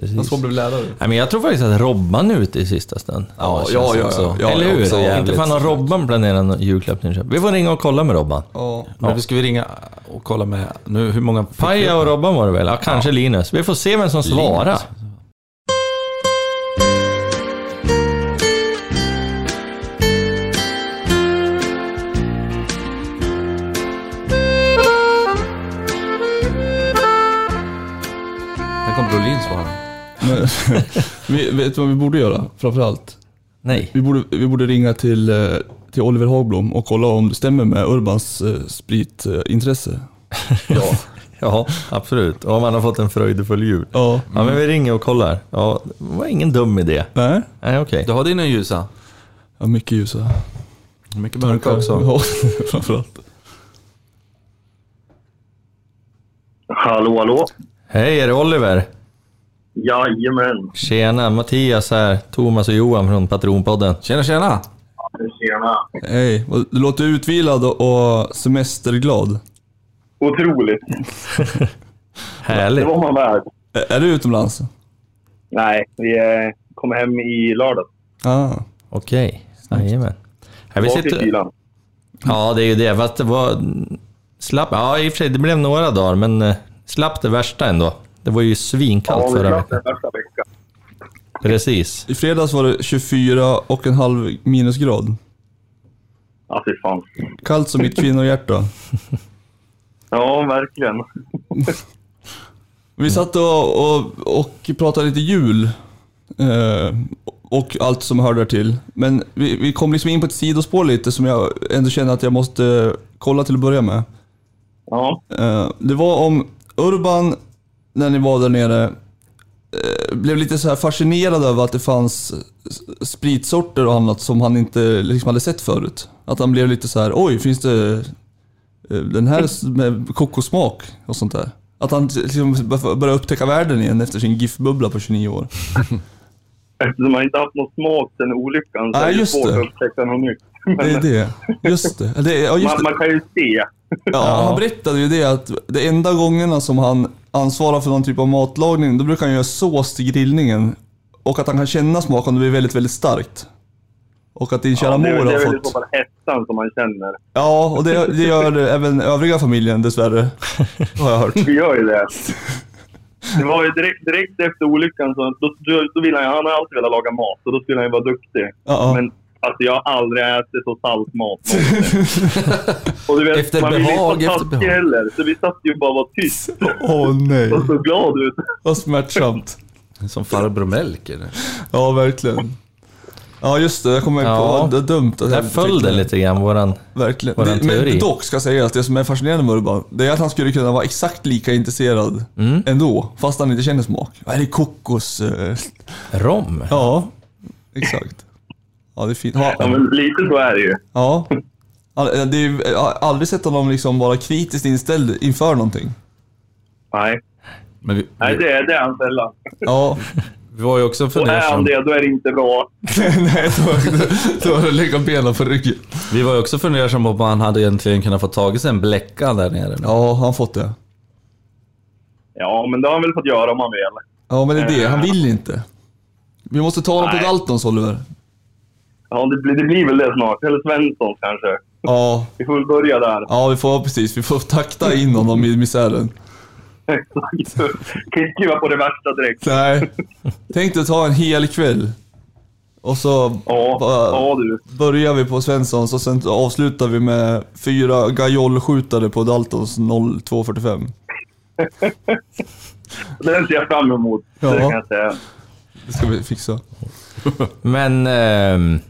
Han Precis. så blev lärare. Nej, men jag tror faktiskt att Robban är ute i sista stund. Ja, ja, känns ja, också. ja. Ja, Eller hur? också inte jävligt. fan har Robban planerat någon julklapp till Nyköping. Vi får ringa och kolla med Robban. Ja. Men vi ska vi ringa och kolla med nu hur många... Paja och Robban var det väl? Ja, kanske Linus. Vi får se vem som svarar. Här kommer Brolin svara. Men, vi, vet du vad vi borde göra framförallt? Nej. Vi borde, vi borde ringa till, eh, till Oliver Hagblom och kolla om det stämmer med Urbans eh, spritintresse. Ja. ja, absolut. Och om han har fått en fröjdefull jul. Ja. Ja, men vi ringer och kollar. Ja, det var ingen dum idé. Nej? Nej, okej. Du har dina ljusa. Äh? Ja, mycket ljusa. Mycket mörka också. Ja, framförallt. Hallå, hallå. Hej, är det Oliver? Jajamän. Tjena, Mattias här. Thomas och Johan från Patronpodden. Tjena tjena! Tjena. Hej, vad- du låter utvilad och semesterglad. Otroligt. Det Härligt. var man värd. Ä- Är du utomlands? Nej, vi eh, kom hem i lördag. Ah. Okej, jajamän. Här, vi Var till sitter... kylan. Ja, det är ju det. Fast det var... Slapp... Ja, i och för sig, det blev några dagar, men eh, slapp det värsta ändå. Det var ju svinkallt Ja, vi förra slapp veckan. den värsta veckan. Precis. I fredags var det 24 och en halv minusgrad. Ja, fy fan. Kallt som mitt kvinnohjärta. Ja, verkligen. Vi satt och, och, och pratade lite jul. Eh, och allt som hör där till. Men vi, vi kom liksom in på ett sidospår lite som jag ändå känner att jag måste kolla till att börja med. Ja, Eh, det var om Urban, när ni var där nere, eh, blev lite så här fascinerad över att det fanns s- spritsorter och annat som han inte liksom hade sett förut. Att han blev lite så här, oj, finns det eh, den här s- med kokosmak och sånt där? Att han liksom bör- började upptäcka världen igen efter sin GIF-bubbla på 29 år. eftersom man inte haft någon smak sen olyckan så Nej, är det just svårt det. att upptäcka något nytt. Det är Men det. Just det. Ja, det är- ja, just man, det. man kan ju se. Ja, han berättade ju det att de enda gångerna som han ansvarar för någon typ av matlagning, då brukar han göra sås till grillningen. Och att han kan känna smaken om det blir väldigt, väldigt starkt. Och att din kära Ja, det, mor är- det är har väl i så fått... fall hettan som man känner. Ja, och det, det gör även övriga familjen dessvärre. Har jag hört. Vi gör ju det. Det var ju direkt, direkt efter olyckan så då, då, då ville han, han har alltid velat laga mat och då skulle han ju vara duktig. Ja, ja. Men alltså jag har aldrig ätit så salt mat någonsin. Och du vet, Efter man vill inte behag, vara efter taskig behag. heller. Så vi satt ju bara och var tyst Åh nej, och så glad ut. vad smärtsamt. Som farbror Melker. Ja, verkligen. Ja, just det. Jag kommer Ja. på vad det är dumt. att Där jag föll det tyckte- lite grann, våran... Verkligen. Våran Det, men teori. dock ska sägas att det som är fascinerande med Urban, det är att han skulle kunna vara exakt lika intresserad ändå, fast han inte känner smak. Vad är det kokos? eh, Rom. Ja, exakt. Ja, det är fint. Ha, Ja, men lite så är det ju. ja. All- eh, Det är, ju- jag har aldrig sett honom liksom vara kritiskt inställd inför någonting. Nej, Men vi, Nej det, är, det är han sällan. Ja, vi var ju också Och är han fundersamma. det, då är det inte bra. nej, då, då har du lägga benen på ryggen. Vi var ju också fundersamma på om han hade egentligen kunnat få tag i sig en bläcka där nere. Ja, han har fått det. Ja, men det har han väl fått göra om han vill. Ja, men det är det. Han vill inte. Vi måste ta honom på Nej. Daltons Oliver. Ja, det blir, det blir väl det snart. Eller Svensson kanske. Ja, Vi får väl börja där. ja vi får precis. Vi får takta in honom i misären. Exakt. Kan inte skriva på det värsta direkt. Nej. Tänk dig att ta en hel kväll. Och så Ja, bara ja du. börjar vi på Svenssons och sen avslutar vi med fyra gajollskjutare på Daltons 0245. Den ser jag fram emot. Ja. Det kan jag säga. Det ska vi fixa. Men... ehm,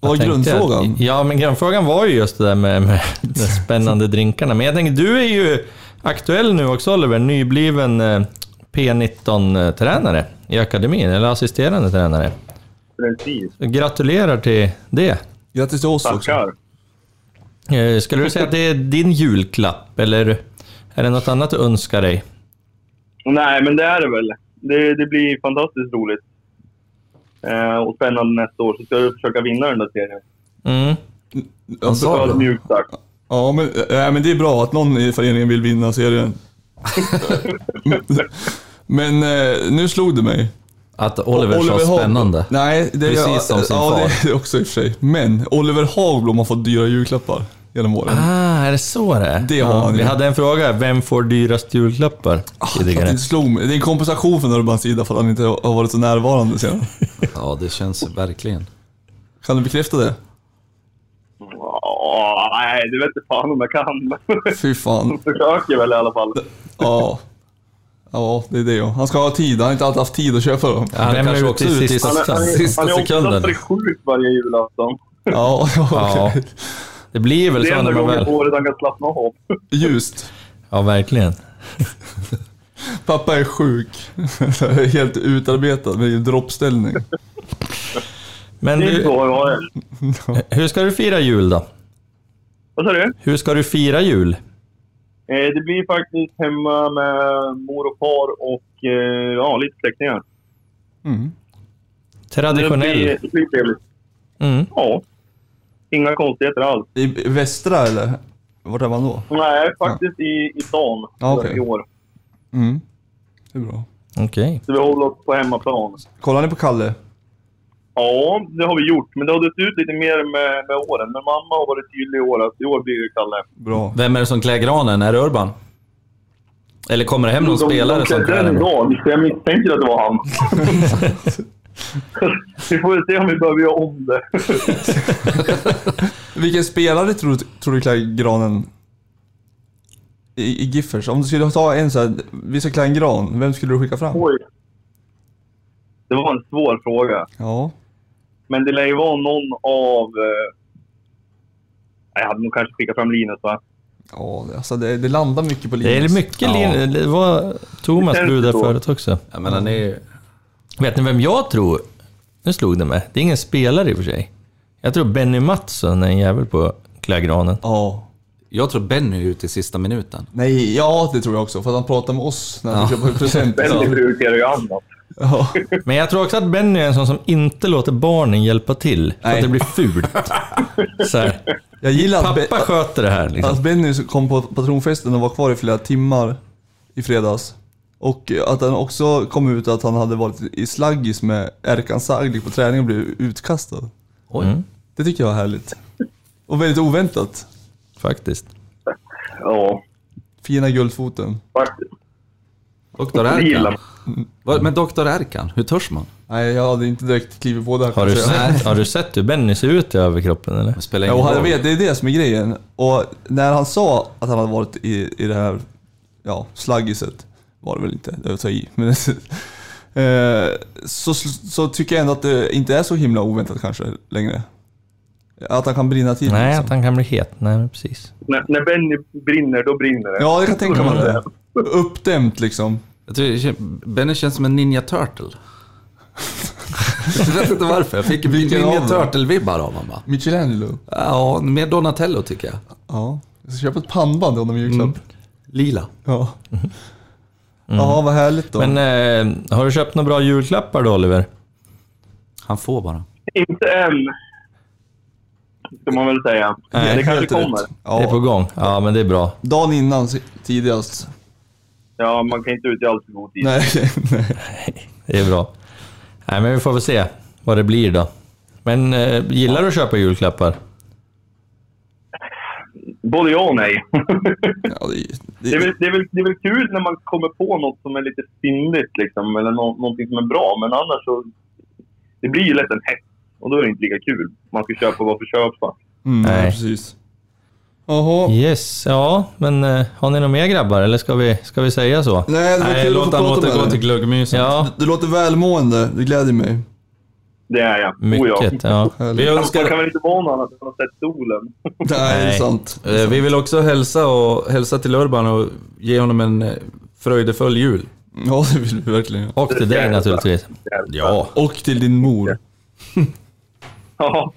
Vad var jag tänkte att- grundfrågan? ja, men grundfrågan var ju just det där med, med de spännande drinkarna. Men jag tänker, du är ju aktuell nu också Oliver, nybliven eh, P19-tränare i akademin, eller assisterande tränare. Precis. Gratulerar till det. Grattis till oss också. Tackar. Eh, Skulle du säga att det är din julklapp, eller är det något annat du önskar dig? Nej, men det är det väl. Det, det blir fantastiskt roligt. Eh, och spännande nästa år. Så ska du försöka vinna den där serien. Mm. Alltså, Ödmjukt sagt. ja, men, äh, men det är bra att någon i föreningen vill vinna serien. men eh, nu slog det mig. Att Oliver, sa Hag- spännande. Nej, det är, Precis som sin ja, far. det är det också i och för sig. Men Oliver Hagblom har fått dyra julklappar genom åren. Ah, är det så det är? Det har han Vi ju. hade en fråga, vem får dyrast julklappar? Ah, Att Tidigare. Det slog mig. Det är en kompensation från Urbans sida för att han inte har varit så närvarande senare. Ja, det känns verkligen. Kan du bekräfta det? Ja, nej, det vet inte fan om jag kan. Fy fan. Försöker väl i alla fall. Ja. Ja, det är det ju. Han ska ha tid. Han har inte alltid haft tid att köpa dem. Han Vem kanske är också ute i är ute i sista- sista, Han är, han sista, är, han är sekunden. oftast sjuk varje julafton. Ja, ja. Ja. okej. Det blir väl Det är så när man enda gången väl... på året han kan slappna av. Ljust. Ja, verkligen. Pappa är sjuk. Helt utarbetad med droppställning. Men Det är du, så jag har det. hur ska du fira jul då? Vad sa du? Hur ska du fira jul? Eh, Det blir faktiskt hemma med mor och far och eh, ja, lite släktingar. Det Traditionell. blir, det blir trevligt. Mm. Ja. Inga konstigheter alls. I västra eller? Vart är man då? Nej, faktiskt i, i stan Ja, okej. i år. Mm. Det är bra. Okej. Så vi håller oss på hemmaplan. Kollar ni på Kalle? Ja, det har vi gjort. Men det har dött ut lite mer med, med åren. Men mamma har varit tydlig i år att i år blir det Kalle. Bra. Vem är det som klär granen? Är det Urban? Eller kommer det hem någon spelare som klär den den? idag, så jag misstänker att det var han. vi får väl se om vi behöver göra om det. Vilken spelare tror du, tror du klär granen? I, I Giffers? Om du skulle ta en så här, vi ska klä en gran, vem skulle du skicka fram? Oj. Det var en svår fråga. Ja. Men det lär ju vara någon av... Eh... Jag hade nog kanske skickat fram Linus, va? Ja, det- alltså det, det landar mycket på Det Linus. är mycket Ja. linje. Det var Thomas Det känns bud där så. förut också. Jag menar, ni är ju... Vet ni vem jag tror? Nu slog det mig. Det är ingen spelare i och för sig. Jag tror Benny Mattsson är en jävel på klägranen. Ja. Jag tror Benny är ute i sista minuten. Nej, ja det tror jag också. För att han pratar med oss när han köper presenter. Benny prioriterar ju annat. Ja. Men jag tror också att Benny är en sån som inte låter barnen hjälpa till. För Nej. att det blir fult. Så här. Jag gillar att, Pappa Be- sköter det här liksom. att Alltså Benny kom på patronfesten och var kvar i flera timmar i fredags. Och eh, att han också kom ut att han hade varit i slaggis med Erkan Saglik på träning och blivit utkastad. Oj. Mm. Det tycker jag var härligt. Och väldigt oväntat. Faktiskt. Ja, Fina guldfoten. faktiskt. Doktor Det gillar Erkan. man. Vad- Men Doktor Erkan, hur törs man? Nej, jag hade inte direkt klivit på det. här, Har du, kanske. sett, har du sett hur Benny ser ut i överkroppen eller? Alltså, Det spelar ingen Ja, roll. jag vet, det är det som är grejen. Och när han sa att han hade varit i, i det här ja, slaggiset, var det väl inte, jag tar i. Men, eh, så, så tycker jag ändå att det inte är så himla oväntat kanske längre. Att han kan brinna till. Nej, liksom. att han kan bli het. Nej, men precis. När, när Benny brinner, då brinner det. Ja, jag kan tänka mig det. Uppdämt liksom. Jag tror, det kän- Benny känns som en Ninja Turtle. jag vet inte varför. Jag fick Vilken av Ninja dem? Turtle-vibbar av honom. va? Michelangelo. Ja, mer Donatello tycker jag. Ja. Jag ska köpa ett pannband till honom i Mm. julklapp. Lila. Ja. ja, vad härligt då. Men eh, har du köpt några bra julklappar då Oliver? Han får bara. Inte än, ska man väl säga. det kanske Helt rätt. kommer. Ja. Det är på gång? Ja, men det är bra. Dagen innan tidigast. Ja, man kan inte ut i allt för god tid. Nej, nej. Det är bra. Nej, men vi får väl se vad det blir då. Men eh, gillar du att köpa julklappar? Både ja och nej. Ja, det, Det är, det, väl, det, är väl, det är väl kul när man kommer på något som är lite fyndigt liksom, eller nå, någonting som är bra. Men annars så... Det blir ju lätt en hets och då är det inte lika kul. Man ska köpa vad för köpa. mm, Nej. nej. precis. Jaha. Yes, ja, men eh, har ni några mer grabbar eller ska vi, ska vi säga så? Nej, det var Nej, kul att få låt han prata återgå med till dig. Oh, glöggmyset. Ja, Du, du låter välmående, det gläder mig. Det är jag. Oh, ja. mycket. Ja. Vi, Man kan önskar, väl inte vara någon annat än att ha sett solen. Nej, det Nej. är sant. eh, vi vill också hälsa, och, hälsa till Urban och ge honom en eh, fröjdefull jul. Ja, det vill vi verkligen. Och till dig naturligtvis. Ja. Och till din mor. Ja,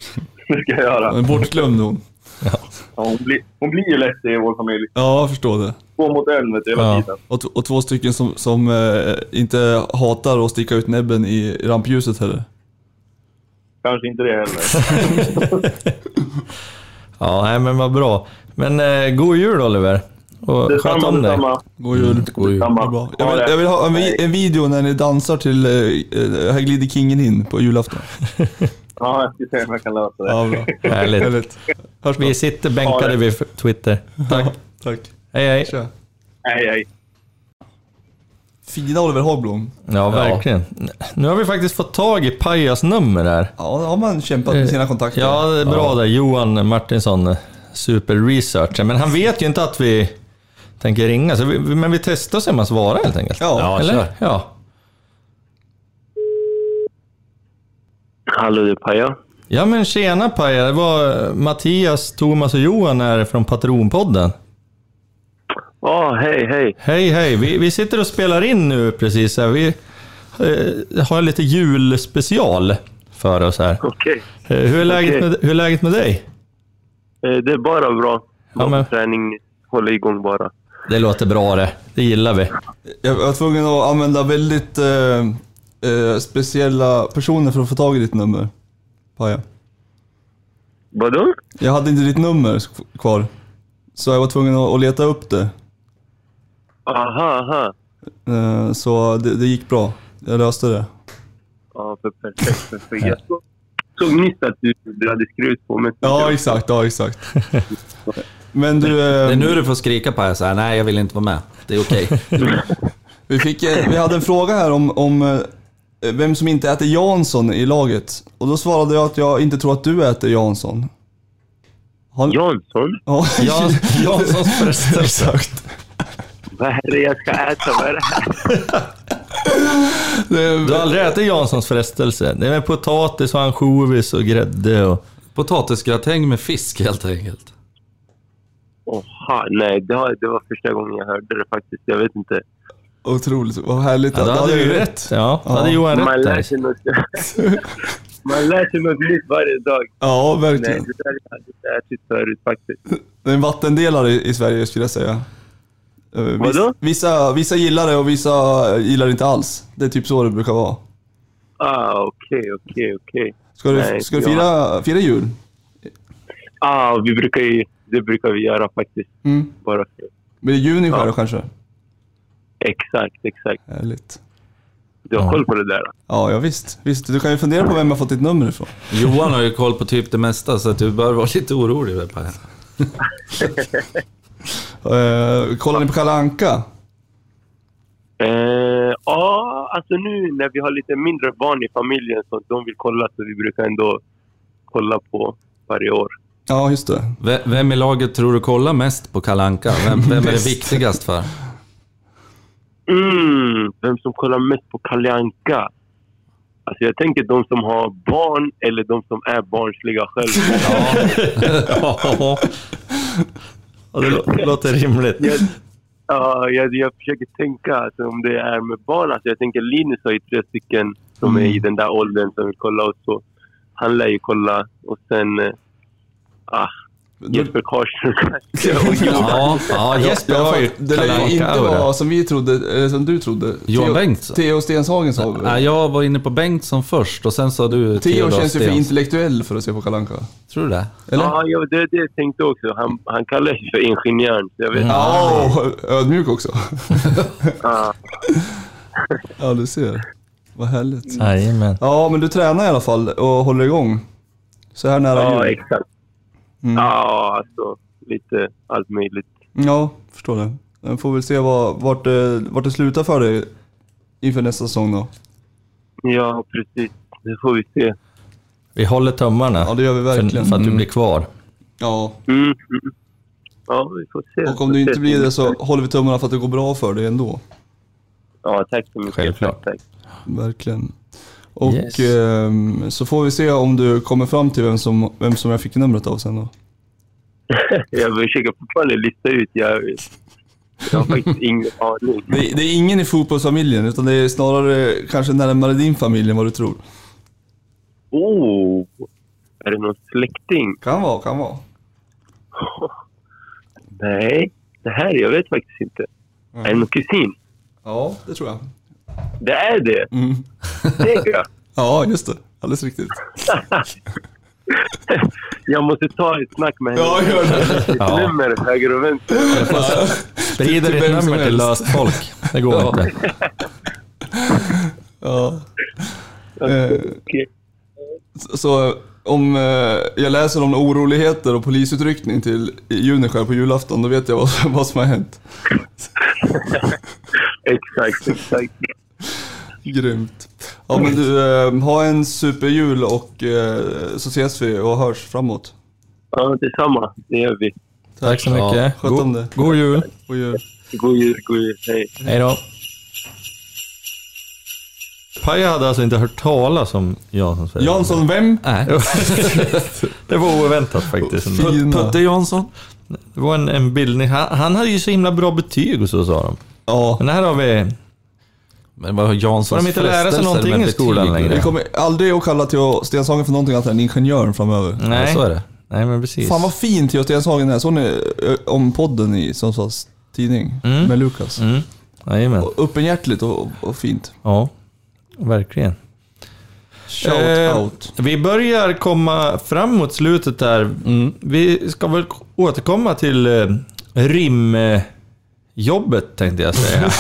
det ska jag Ja, göra. en Bortglömd hon. Ja, hon, blir, hon blir ju lätt det i vår familj. Ja, jag förstår det. Två mot en vet du, hela Ja. tiden. Och, t- och två stycken som, som eh, inte hatar att sticka ut näbben i rampljuset heller. Kanske inte det heller. Ja, nej, men vad bra. Men eh, god jul Oliver. Och sköt Detsamma, om dig. detsamma. God Mm. jul. God jul. detsamma. Bra. Ha Jag, vill, det. jag vill ha en, vi- Nej. en video när ni dansar till eh, eh, Här glider kingen in på julafton. Ja, jag ska se om jag kan lösa det. Ja, bra. Härligt. Härligt. Hörs då. Vi sitter bänkade vid Twitter. Tack. Tack. Hej hej. Tja. Hej, hej. Fina Oliver Hagblom. Ja, verkligen. Nu har vi faktiskt fått tag i Pajas nummer här. Ja, då har man kämpat med sina kontakter. Ja, det är bra där. Johan Martinsson, superresearcher. Men han vet ju inte att vi tänker ringa, så vi, men vi testar och ser om han svarar helt enkelt. Ja. Ja, Eller? Ja. Hallå, du Paja. ja, men tjena Paja. Det var eh, Mattias, Thomas och Johan här från Patronpodden. Ja, hej, hej. Hej, hej. Vi, vi sitter och spelar in nu precis. Här. Vi eh, har lite julspecial för oss här. Okej. Eh, Hur är läget Okej. med, hur är läget med dig? Eh, Det är bara bra. Ja, men- Träning, hålla igång bara. Det låter bra det. Det gillar vi. Jag var tvungen att använda väldigt eh, eh, speciella personer för att få tag i ditt nummer. Paja. Vadå? Jag hade inte ditt nummer sk- kvar. Så jag var tvungen att att leta upp det. Aha, aha. Eh, Så det, det gick bra. Jag löste det. Ja, för perfekt. perfekt. Jag såg- såg nyss att du, du hade skrivit på mig. Ja, exakt. Ja, exakt. Men du, eh, Det är nu du får skrika på här så här. nej jag vill inte vara med. Det är okej. vi, fick, eh, vi hade en fråga här om, om eh, vem som inte äter Jansson i laget. Och då svarade jag att jag inte tror att du äter Jansson. Har- Jansson? Ja, Jan, Janssons frestelse. exakt. Vad är det jag ska äta? Vad är det här? Det är- Du har aldrig ätit Janssons frestelse? Det är med potatis och ansjovis och grädde och... Potatisgratäng med fisk helt enkelt. Oha, nej, det, har, det var första gången jag hörde det faktiskt. Jag vet inte. Otroligt, vad härligt. Ja, då Du hade hade du ju rätt. Ja, då Ja. hade Johan Man rätt lär där. sig något, Man lär sig något nytt varje dag. Ja, Nej, verkligen. det där jag hade inte ätit förut faktiskt. Det är en vattendelare i i Sverige skulle jag säga. Eh, vis- Vadå? Vissa, vissa gillar det och vissa gillar det inte alls. Det är typ så det brukar vara. Ah, okej, okej, okej. Ska du, Nej, ska du jag- fira, fira jul? Ah, vi brukar ju... Det brukar vi göra faktiskt. Mm. Bara för. Blir det juni Ja. själv kanske? Exakt, exakt. Härligt. Du har koll på det där? då? Ja, ja visst. visst. Du kan ju fundera på vem jag fått ditt nummer ifrån. Johan har ju koll på typ det mesta så att du bör vara lite orolig. väl, Per? Uh, kollar ni på Kalle Anka? Eh, ja, alltså nu när vi har lite mindre barn i familjen så de vill kolla så vi brukar ändå kolla på varje år. Ja, just det. Ve- Vem i laget tror du kollar mest på Kalle Anka? Vem, vem är det Mest. viktigast för? Mm, vem som kollar mest på Kalle Anka? Alltså jag tänker de som har barn eller de som är barnsliga själva. Ja. Ja, det lå- låter rimligt. Jag, ja, jag, jag försöker tänka alltså, om det är med barn. Alltså, jag tänker Linus har ju tre stycken som är Mm. i den där åldern som vill kolla och så. Han lär ju kolla och sen... eh, Ah, Jesper Karlsson kanske. Ja, ja Jesper Ja, har för ju att det lär ju inte vara som vi trodde, eller som du trodde. Johan Theo- Bengtsson. Theo Stenshagen sa vi. Ja, jag var inne på Bengtsson först och sen sa Theo du Theodor känns ju för Stensson. intellektuell för att se på Kalle Anka. Tror du det? Eller? Ja, ja, det är det jag tänkte också. Han, han kallar sig för ingenjören. Så jag Mm. vet inte. Ah. Ja, ödmjuk också. Ja. ja, du ser. Vad härligt. Jajamän. Ja, men du tränar i alla fall och håller igång. Så här nära Ja, jul. exakt. Mm. Ja, alltså lite allt möjligt. Ja, förstår det. Men Får väl se vad, vart, det- vart det slutar för dig inför nästa säsong då. Ja, precis. Det får vi se. Vi håller tummarna Ja, det gör vi för, verkligen. Mm. för att du blir kvar. Ja, Mm. mm. Ja, vi får se. och om du Vi får inte se. blir det så håller vi tummarna för att det går bra för dig ändå. Ja, tack så mycket. Självklart. Tack, tack. Verkligen. Och Yes. ehm, så får vi se om du kommer fram till vem som, vem som jag fick numret av sen då. Jag försöker fortfarande lista ut. Jag, jag har faktiskt ingen aning. Det, det är ingen i fotbollsfamiljen, utan det är snarare kanske närmare din familj än vad du tror. Oh! Är det någon släkting? Kan vara, kan vara. Nej, det här jag vet faktiskt inte. Är det någon kusin? Ja, det tror jag. Det är det! Mm. Tänker jag. Ja, just det. Alldeles riktigt. Jag måste ta ett snack med henne. Ja, gör det. Ja. Nummer höger och vänster. Sprider till ditt vem som nummer till helst. löst folk. Det går inte. Ja. Eh, Okej. så- så eh, om eh, jag läser om oroligheter och polisutryckning till i Juneskär på julafton, då vet jag vad, vad som har hänt. Exakt, exakt. Grymt. Ja, men du, eh, ha en superjul och eh, så ses vi och hörs framåt. Ja, detsamma. Det gör vi. Tack så mycket. Ja, sköt om God, det. god jul. Och jul. God jul, god jul. Hej. Hej då. Paja hade alltså inte hört talas om Jansson Sverige. Jansson, vem? Nej. det var oväntat faktiskt. Fina. Putte Jansson. Det var en, en bildning. Han, han hade ju så himla bra betyg och så sa de. Ja. Men här har vi... Men vad har Får Janssons de inte lära sig någonting i skolan längre? Vi kommer aldrig att kalla Theo Stenshagen för någonting annat än ingenjören framöver. Nej, Nej. Så är det. Nej men precis. Fan vad fin Theo Stenshagen är. Såg ni eh, om podden i Sundsvalls tidning? Med Lukas. Mm. Jajamän. Öppenhjärtligt och, och fint. Ja, verkligen. Shout Eh, out. Vi börjar komma fram mot slutet här. Vi ska väl k- återkomma till eh, rimjobbet tänkte jag säga.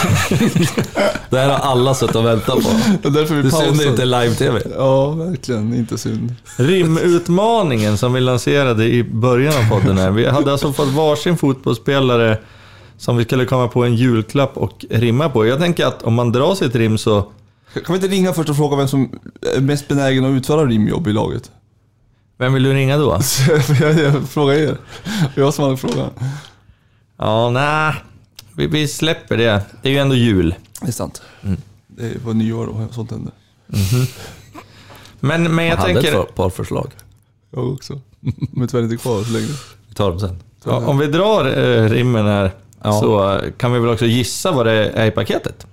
Det här har alla suttit och väntat på. Det är därför vi Det är synd det pausar. inte är live-tv. Ja, verkligen. Inte synd. Rimutmaningen som vi lanserade i början av podden här. Vi hade alltså fått varsin fotbollsspelare som vi skulle komma på en julklapp och rimma på. Jag tänker att om man drar sitt rim så... Kan vi inte ringa först och fråga vem som är mest benägen att utföra rimjobb i laget? Vem vill du ringa då? För jag, jag frågar er. Det var jag som hade frågan. Ja, nej. Vi, vi släpper det. Det är ju ändå jul. Det är sant. Det var nyår då, sånt hände. Men, men jag Jag hade tänker... ett par förslag. Jag också. Men tyvärr inte kvar så länge. Vi tar dem sen. Ja, om vi drar eh, rimmen här Ja. så eh, kan vi väl också gissa vad det är i paketet.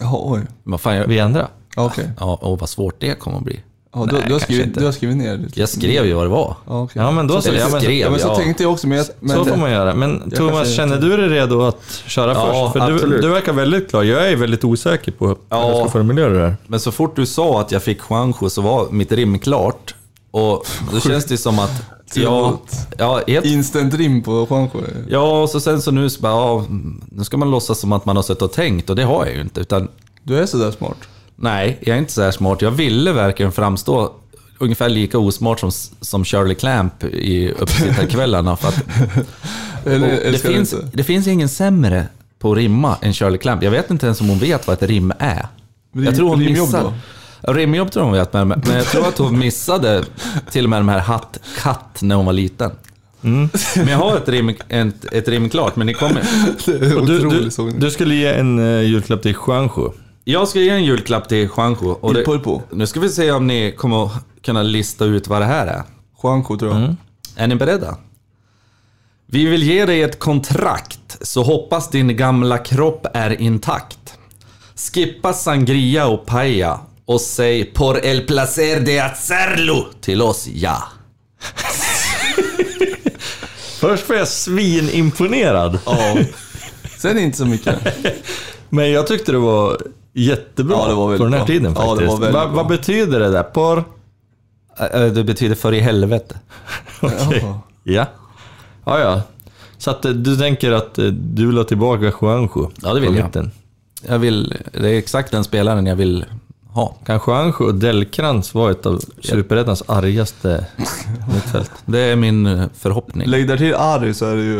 Jaha, oj. Men fan, jag... Vi andra. Ja, Okej. Ja, och vad svårt det kommer att bli. Ja, du, Nej, du, har kanske skrivit, inte. du har skrivit ner lite. Jag skrev ju vad det var. Ja, okej. Ja, men då så. Eller Ja, jag men, skrev, Ja, men så ja. tänkte jag också, men, jag, men så får man göra. Men Thomas, kanske- känner du dig redo att köra Ja, först? För du, absolut. du verkar väldigt klar. Jag är väldigt osäker på hur jag ska formulera det här. Men så fort du sa att jag fick Juanjo så var mitt rim klart. Och då känns det som att... Ja, ja, helt, instant rim på Juanjo. ja, och så sen så nu så bara, ja, Nu ska man låtsas som att man har suttit och tänkt och det har jag ju inte. Utan Du är sådär smart. nej, jag är inte så här smart. Jag ville verkligen framstå ungefär lika osmart som, som Shirley Clamp i uppesittarkvällarna. För att Eller, Och det, älskar du finns, inte? det finns ingen sämre på att rimma än Shirley Clamp. Jag vet inte ens om hon vet vad ett rim är. Rim- jag tror hon rimjobb missar. då? Ja, Rimjobb tror jag hon vet, men, men jag tror att hon missade till och med de här hatt, katt när hon var liten. Mm. Men jag har ett rim, ett, ett rim klart, men ni kommer. Och Du, du, Otrolig sågning. du skulle ge en eh, julklapp till Juanjo. Jag ska ge en julklapp till Juanjo. Och Il Pulpo. nu ska vi se om ni kommer att kunna lista ut vad det här är. Juanjo tror jag. Mm. Är ni beredda? Vi vill ge dig ett kontrakt, så hoppas din gamla kropp är intakt. Skippa sangria och paella och säg por el placer de hacerlo till oss, ja. Först var jag svinimponerad. Ja. Sen inte så mycket. Men jag tyckte det var jättebra Ja, det var på väldigt den här bra. tiden Ja, det var faktiskt. väldigt Va, bra. vad betyder det där? Por? Det betyder för i helvete. Okej. Ja. Ja. ja, ja. Så att eh, du tänker att eh, du vill ha tillbaka Juanjo? Ja, det vill på jag. mitten. Jag vill, det är exakt den spelaren jag vill ha. Kanske Anjo och Delkrans var ett av Superettans argaste mittfält. Det är min eh, förhoppning. Lägg där till Ari så är det ju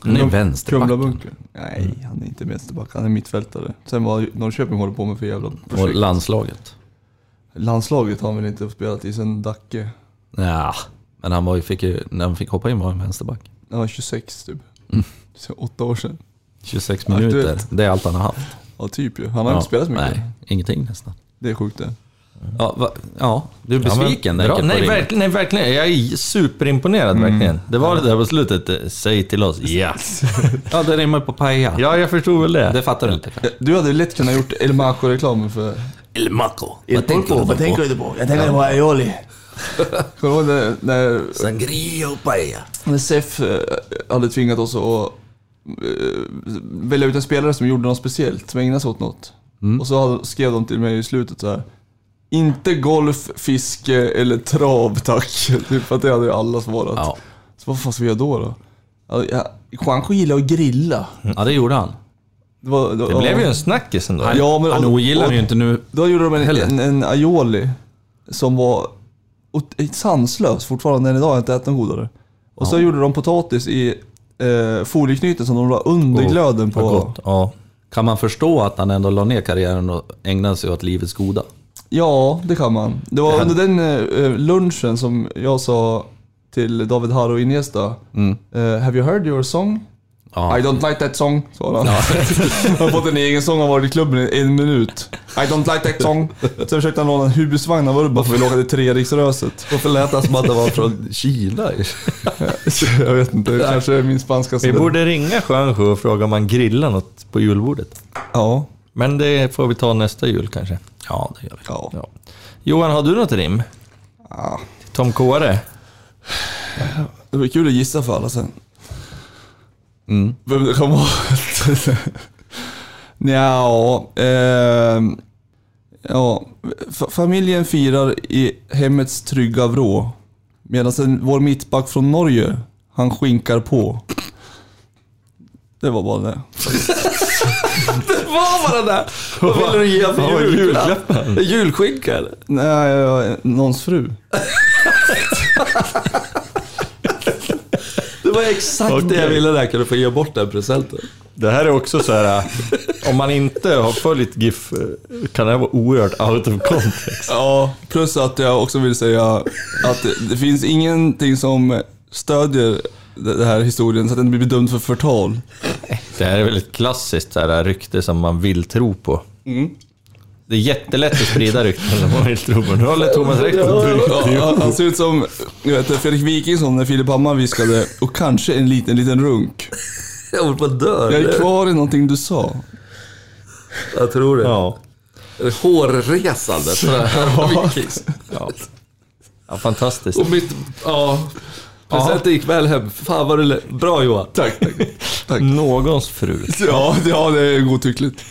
Han är Krum- vänsterback. Kumlabunken. Nej, han är inte vänsterback. Han är mittfältare. Sen vad Norrköping håller på med för jävla Och projekt. landslaget. Landslaget har han väl inte spelat i sen Dacke. Ja, men han var ju, fick ju, när han fick hoppa in var han vänsterback. Han var 26 typ. Mm. Så åtta år sedan. 26 Aktuellt. minuter, det är allt han har haft. Ja, typ ju. Han har inte spelat så mycket. Nej, ingenting nästan. Det är sjukt det. Ja, va, ja du är besviken Ja, men, Henke, bra. på nej, din- verkligen, nej, verkligen. Jag är superimponerad verkligen. Det var det där på slutet. eh, Säg till oss. Ja. Mm. Ja, det rimmar ju på paella. Ja, jag förstod väl det. Det fattar du inte kanske? Du hade lätt kunnat gjort El Maco-reklamen för... El Maco. Vad tänker du då på? du på? Jag tänker på aioli. Kommer du ihåg när- när Sangria och paella. När SEF eh, hade tvingat oss att eh, välja ut en spelare som gjorde något speciellt, som ägnade sig åt något. Och så hade- skrev de till mig i slutet så här. Inte golf, fiske eller trav tack. Typ för att det hade ju alla svarat. Ja. Så vad fan ska vi göra då? då? Ja, ja, Juanjo gillar att grilla. ja, det gjorde han. Det, var, det, Det blev ju en snackis ändå. Ja, men, Han och- ogillar och- ju inte nu. Då gjorde de en, Heller. en, en aioli som var ot- sanslös fortfarande än idag. Jag har inte ätit någon godare. Och så gjorde de potatis i eh, folieknyten som de la under glöden på. Vad gott. Ja. Kan man förstå att han ändå la ner karriären och ägnade sig åt livets goda? Ja, det kan man. Det var under den eh, lunchen som jag sa till David Harro Iniesta. eh, have you heard your song? Mm. Ja. I don't like that song, svarade han. han har fått en egen sång och varit i klubben i en minut. I don't like that song. Sen försökte han låna en husvagn av Urban för vi åka till Treriksröset. Varför lät han som att han var från Kina? Jag vet inte, det kanske är min spanska Vi som... borde ringa Juanjo och fråga om man grillar något på julbordet. Ja. Men det får vi ta nästa jul kanske. Ja, det gör vi. ja. Ja. Johan, har du något rim? Tom Kåre? Det blir kul att gissa för alla sen. Mm. Vem det kan vara. Nja, ehm, ja. F- familjen firar i hemmets trygga vrå. Medan en, vår mittback från Norge, han skinkar på. Det var bara det. Vad var det där? Vad ville du ge för julklapp? Julskinka eller? Nej, jag- jag- någons fru. Det var exakt det jag ville där. Kan du få ge bort den presenten? Det här är också så här. äh, om man inte har följt GIF äh, kan det här vara oerhört out of context. Ja, plus att jag också vill säga att det, det finns ingenting som stödjer den här historien så att den blir bedömd för förtal. Det här är väl ett klassiskt så här, äh, rykte som man vill tro på. Mm. Det är jättelätt att sprida rykten som man vill tro på. Nu håller Thomas rätt på att Ja, han- han ser ut som jag vet, inte, Fredrik Wikingsson när Filip Hammar viskade och kanske en liten, liten runk. Jag håller på att dö. Jag är eller? kvar i någonting du sa. Jag tror det. Ja. Hårresande. Så här har vi kiss. Ja. ja, fantastiskt. Och mitt... Ja. Presenten gick väl hem. Fan vad du lä- Bra Johan. Tack, tack. tack. Någons fru. Ja, det- ja, det är godtyckligt.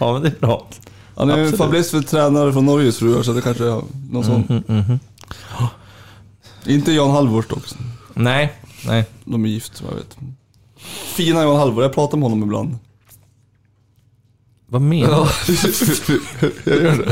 Ja, men det är bra. Han är en fäbless för tränare från Norges fruar så det kanske är någon sån. Mm, Inte Jan Halvors dock. Nej, nej. De är gift, vad jag vet. Fina Jan Halvor, jag pratar med honom ibland. Vad menar du? jag gör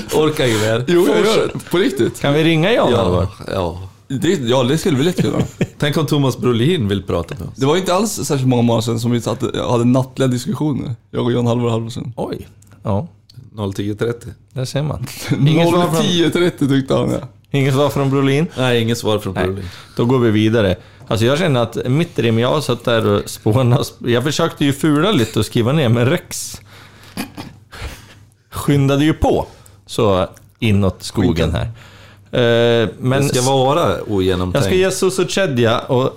det. Orkar ju väl. Jo, jag gör det. På riktigt. Kan vi ringa Jan Alvar? Ja, ja. Det, ja, det skulle vi lätt kunna. Tänk om Thomas Brolin vill prata med oss. Det var inte alls särskilt många månader sedan som vi satt, hade nattliga diskussioner. Jag och Jan Halvor Halvorsen. Oj. Ja, 010.30. där ser man. Inget svar från, 10.30 tyckte han ja. inget svar från Brolin. Nej, inget svar från Nej, Brolin. då går vi vidare. Alltså jag känner att mitt rim, jag har satt där och spånat. Jag försökte ju fula lite och skriva ner, men Rex skyndade ju på så inåt skogen här. Eh, Men Det ska vara ogenomtänkt. jag ska ge Susu Chedia och...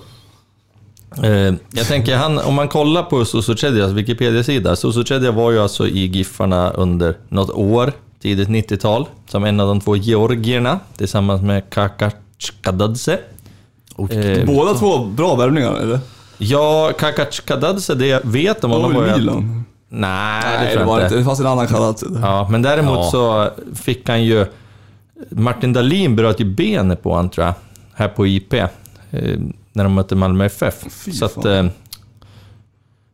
Eh, jag tänker, han, om man kollar på Susu Chedias Wikipedia-sida. Susu Chedia var ju alltså i Giffarna under något år, tidigt 90-tal, som en av de två georgierna tillsammans med Kakachkadadze. Eh, Båda två bra värvningar eller? ja, Kakachkadadze, det vet de. Var honom väl jag- Milan? Nej, det Nej tror det jag var inte. inte. Det fanns en annan Kalatsi där. Ja, men däremot så fick han ju... Martin Dahlin bröt ju benet på honom, tror jag, här på IP. eh, När de mötte Malmö FF. Fy så att, fan. eh,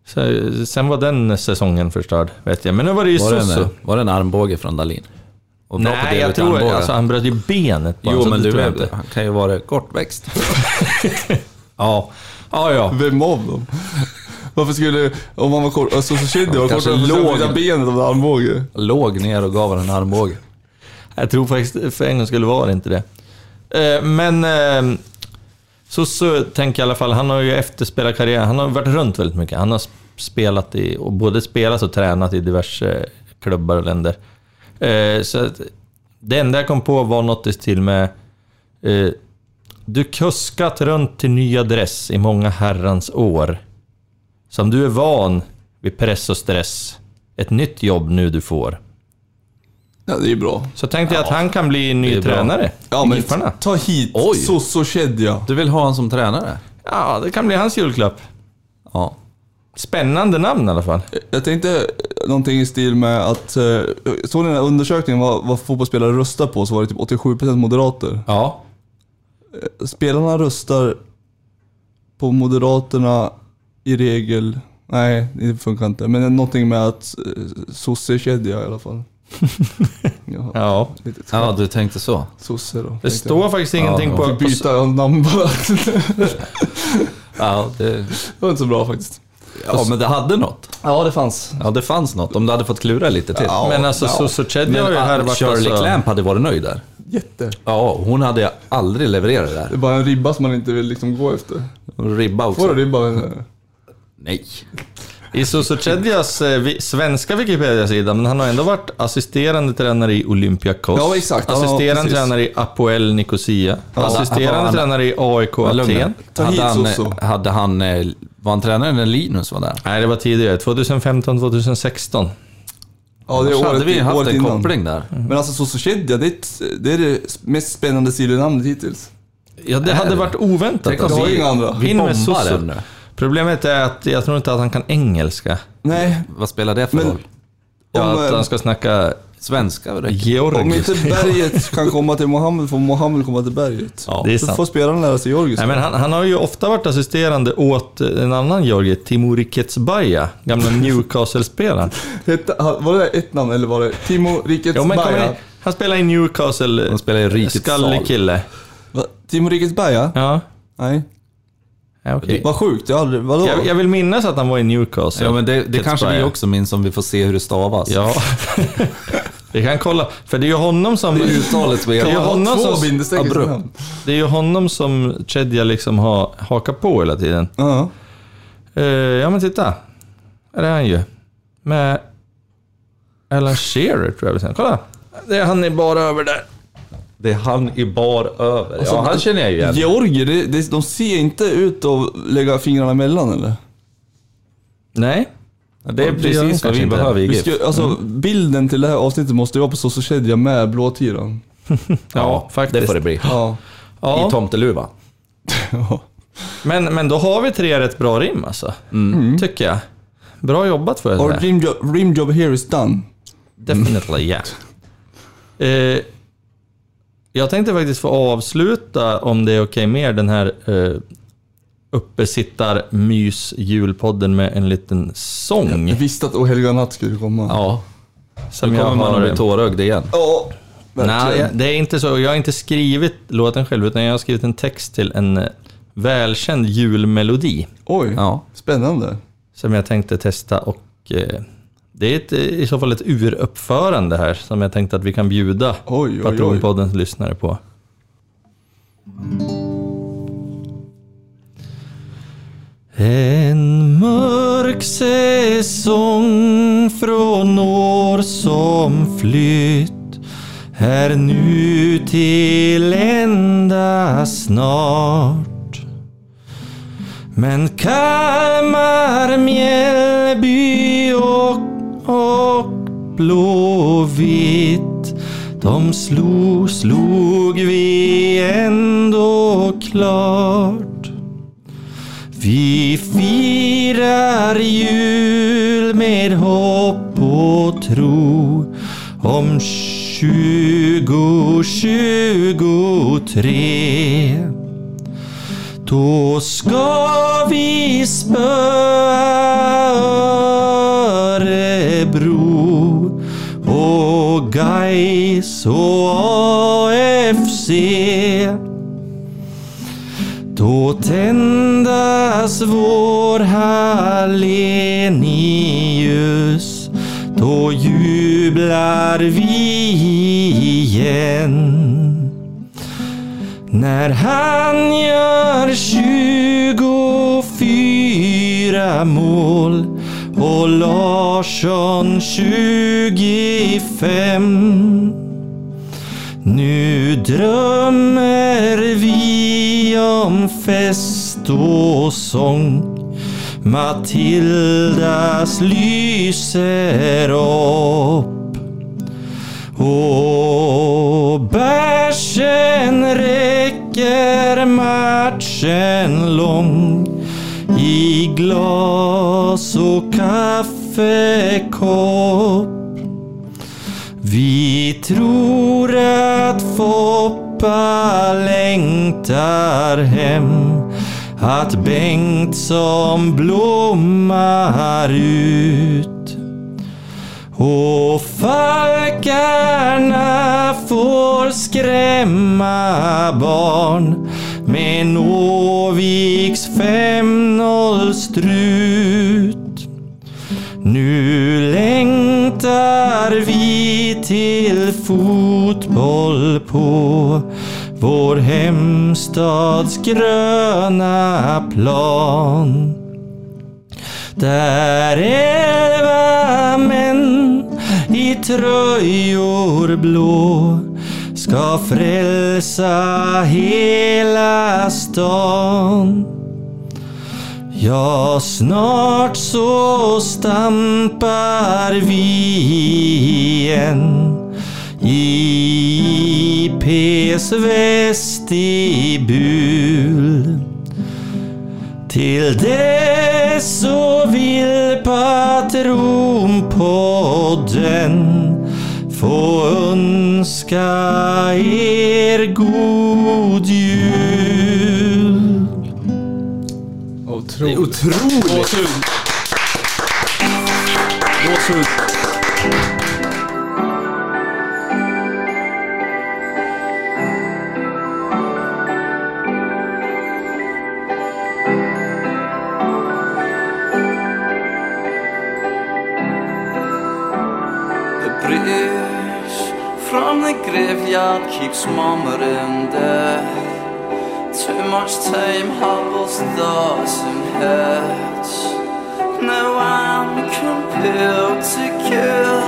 Så- Sen var den säsongen förstörd, vet jag. Men nu var det ju Var det, Soso. en, var det en armbåge från Dalin? Och bra på att Nej, dela jag ut tror armbågar. alltså, han bröt ju benet bara, Jo, så men det du tror jag vet, han kan ju vara kortväxt. Ja, ja. ja. Vem av dem? Varför skulle, om man var kort, alltså så Sheddy var Kanske kortare, varför skulle låg. han bryta benet av en armbåge? Låg ner och gav honom en armbåge. Jag tror faktiskt för en gång skulle vara det inte det. Eh, Men eh, Soso tänker jag i alla fall, han har ju efterspelarkarriär. Han har varit runt väldigt mycket. Han har spelat i, och både spelat och tränat i diverse klubbar och länder. Eh, Så att det enda jag kom på var något i stil med eh, Du kuskat runt till ny adress i många herrans år. Som du är van vid press och stress. Ett nytt jobb nu du får. Ja, det är ju bra. Så tänkte jag att han kan bli ny bra. tränare Ja, i men Giffarna. ta hit Oj. Soso Shedja. Du vill ha honom som tränare? Ja, det kan bli hans julklapp. Ja. Spännande namn i alla fall. Jag tänkte någonting i stil med att, eh, såg ni den här undersökningen vad, vad fotbollsspelare röstar på så var det typ 87% moderater. Ja. Spelarna röstar på Moderaterna i regel. Nej, det funkar inte. Men någonting med att eh, sossekedja i alla fall. ja, ja. lite skämt. Ja, du tänkte så. Sosse då. Det står faktiskt ingenting Ja, på... Jag fick byta namn bara. Ja, det, det var inte så bra faktiskt. ja, men det hade något. Ja, det fanns. Ja, det fanns något. Om du hade fått klura lite till. Ja, Men alltså, Soso Cheddi har ju här Men varit... Shirley alltså, Clamp hade varit nöjd där. Jätte. Ja, hon hade ju aldrig levererat det Det där. är bara en ribba som man inte vill liksom gå efter. Och Ribba också. Var det ribba? eller? Nej. I Soso Cheddias eh, vi- svenska Wikipedia-sida, men han har ändå varit assisterande tränare i Olympiakos. Ja, exakt. Ja, Assisterande precis. tränare i Apoel Nicosia. assisterande han- tränare i AIK Men lugn Aten. nu. Ta hade hit han, Soso. hade han, eh, var han tränare när Linus var där? Nej, det var tidigare. 2015, 2016. Ja, det Annars är hade året, vi haft året en innan. koppling där. Mhm. Men alltså sossekedja, det, är ett- det är det mest spännande sidonamnet hittills. Ja, det hade varit oväntat. Tänk om Det har vi- inga andra. Vi In med bombar Soso. den nu. Problemet är att jag tror inte att han kan engelska. Nej, Vad spelar det för Men- roll? Ja, Om, att eh, han ska snacka Svenska? Det Om georgiska. inte berget kan komma till Mohammed får Mohammed komma till berget. Ja, det är så sant. får spelaren lära sig georgiska. Nej, men han, han har ju ofta varit assisterande åt en annan Georgie, Timur Ketsbaja, gamla Newcastle-spelaren. Hette, han- var det ett namn eller var det Timo Rikets Jo, men kom Berga? igen. han spelar i Newcastle, De spelar i Rikets skallig sal. kille. Va? Timo Rikets Berga? Ja, Nej. ja okej. Vad sjukt, jag har aldrig... Vadå? Jag, jag vill minnas att han var i Newcastle. Ja, men det, det Ketsbaja. kanske vi också minns om vi får se hur det stavas. Ja. Vi kan kolla, för det är ju honom som... Det är uttalet som är- det är ju Kan honom Två som, bindestreck i sitt abrupt. namn. det är ju honom som Chedja liksom har hakat på hela tiden. Ja. Eh, ja men titta. Där är han ju. Med Alan Shearer tror jag vi säger. Kolla. Det är han i bar över där. Det är han i bar över. Alltså, ja, han känner jag ju igen. Georgier, det, det, de ser inte ut att lägga fingrarna emellan eller? Nej. Det är precis vad vi behöver i Vi GIF. ska, alltså, Mm. Bilden till det här avsnittet måste ju vara på Sosokedja med blåtiran. Ja, faktiskt. Det får det bli. Ja. I Ja, tomteluva. men, men då har vi tre rätt bra rim alltså. Mm. Tycker jag. Bra jobbat får jag Our säga. dream job, dream job here is done. Definitely yeah. Eh, jag tänkte faktiskt få avsluta, om det är okej med er, den här eh, uppesittar-mys-julpodden med en liten sång. Jag visste att O helga natt skulle komma. Ja. Som Nu jag kommer man har- eh, att bli tårögd igen. Ja, Nej, verkligen. jag- det är inte så. Jag har inte skrivit låten själv, utan jag har skrivit en text till en eh, välkänd julmelodi Oj, Ja. spännande. som jag tänkte testa och eh, det är ett, eh, i så fall ett uruppförande här som jag tänkte att vi kan bjuda Oj, oj, oj. Patronpoddens lyssnare på. En mörk säsong från år som flytt är nu till ända snart. Men Kalmar, Mjällby och, och Blåvitt de slog, slog vi ändå klart. Vi firar jul med hopp och tro om 2023. Då ska vi spöa Örebro och Gais och AFC. Då tändas vår Hallenius. Då jublar vi igen. När han gör 24 mål och Larsson 25. Nu drömmer vi om fest och sång. Matildas lyser upp och bärsen räcker matchen lång i glas och kaffekopp. Vi tror att Foppa längtar hem att Bengt som blommar ut och falkarna får skrämma barn med Noviks 5-0 strut. Nu längtar vi till fotboll på vår hemstads gröna plan. Där elva män i tröjor blå ska frälsa hela stan. Ja, snart så stampar vi igen i IPs vestibul. Till dess så vill Patronpodden få önska er god jul. Otroligt. Otroligt! Gåshud. Gåshud. The breeze from the graveyard keeps murmuring death. Too much time hobbles thoughts and heads. No one compelled to care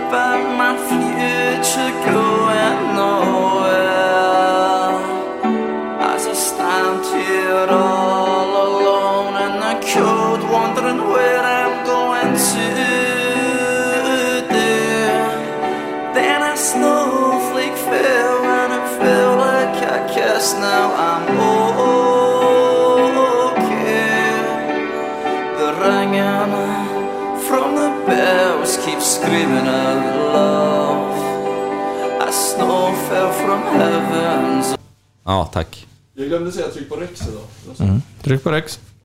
about my future going nowhere. As I stand here all alone in the cold, wondering where I'm going to today. Then a snowflake fell and it felt like a kiss. Now I'm okay. The ringing from the bells keeps screaming out love. A snow fell from heavens Ja, tack. Jag glömde säga tryck på Rex idag. Tryck på rex.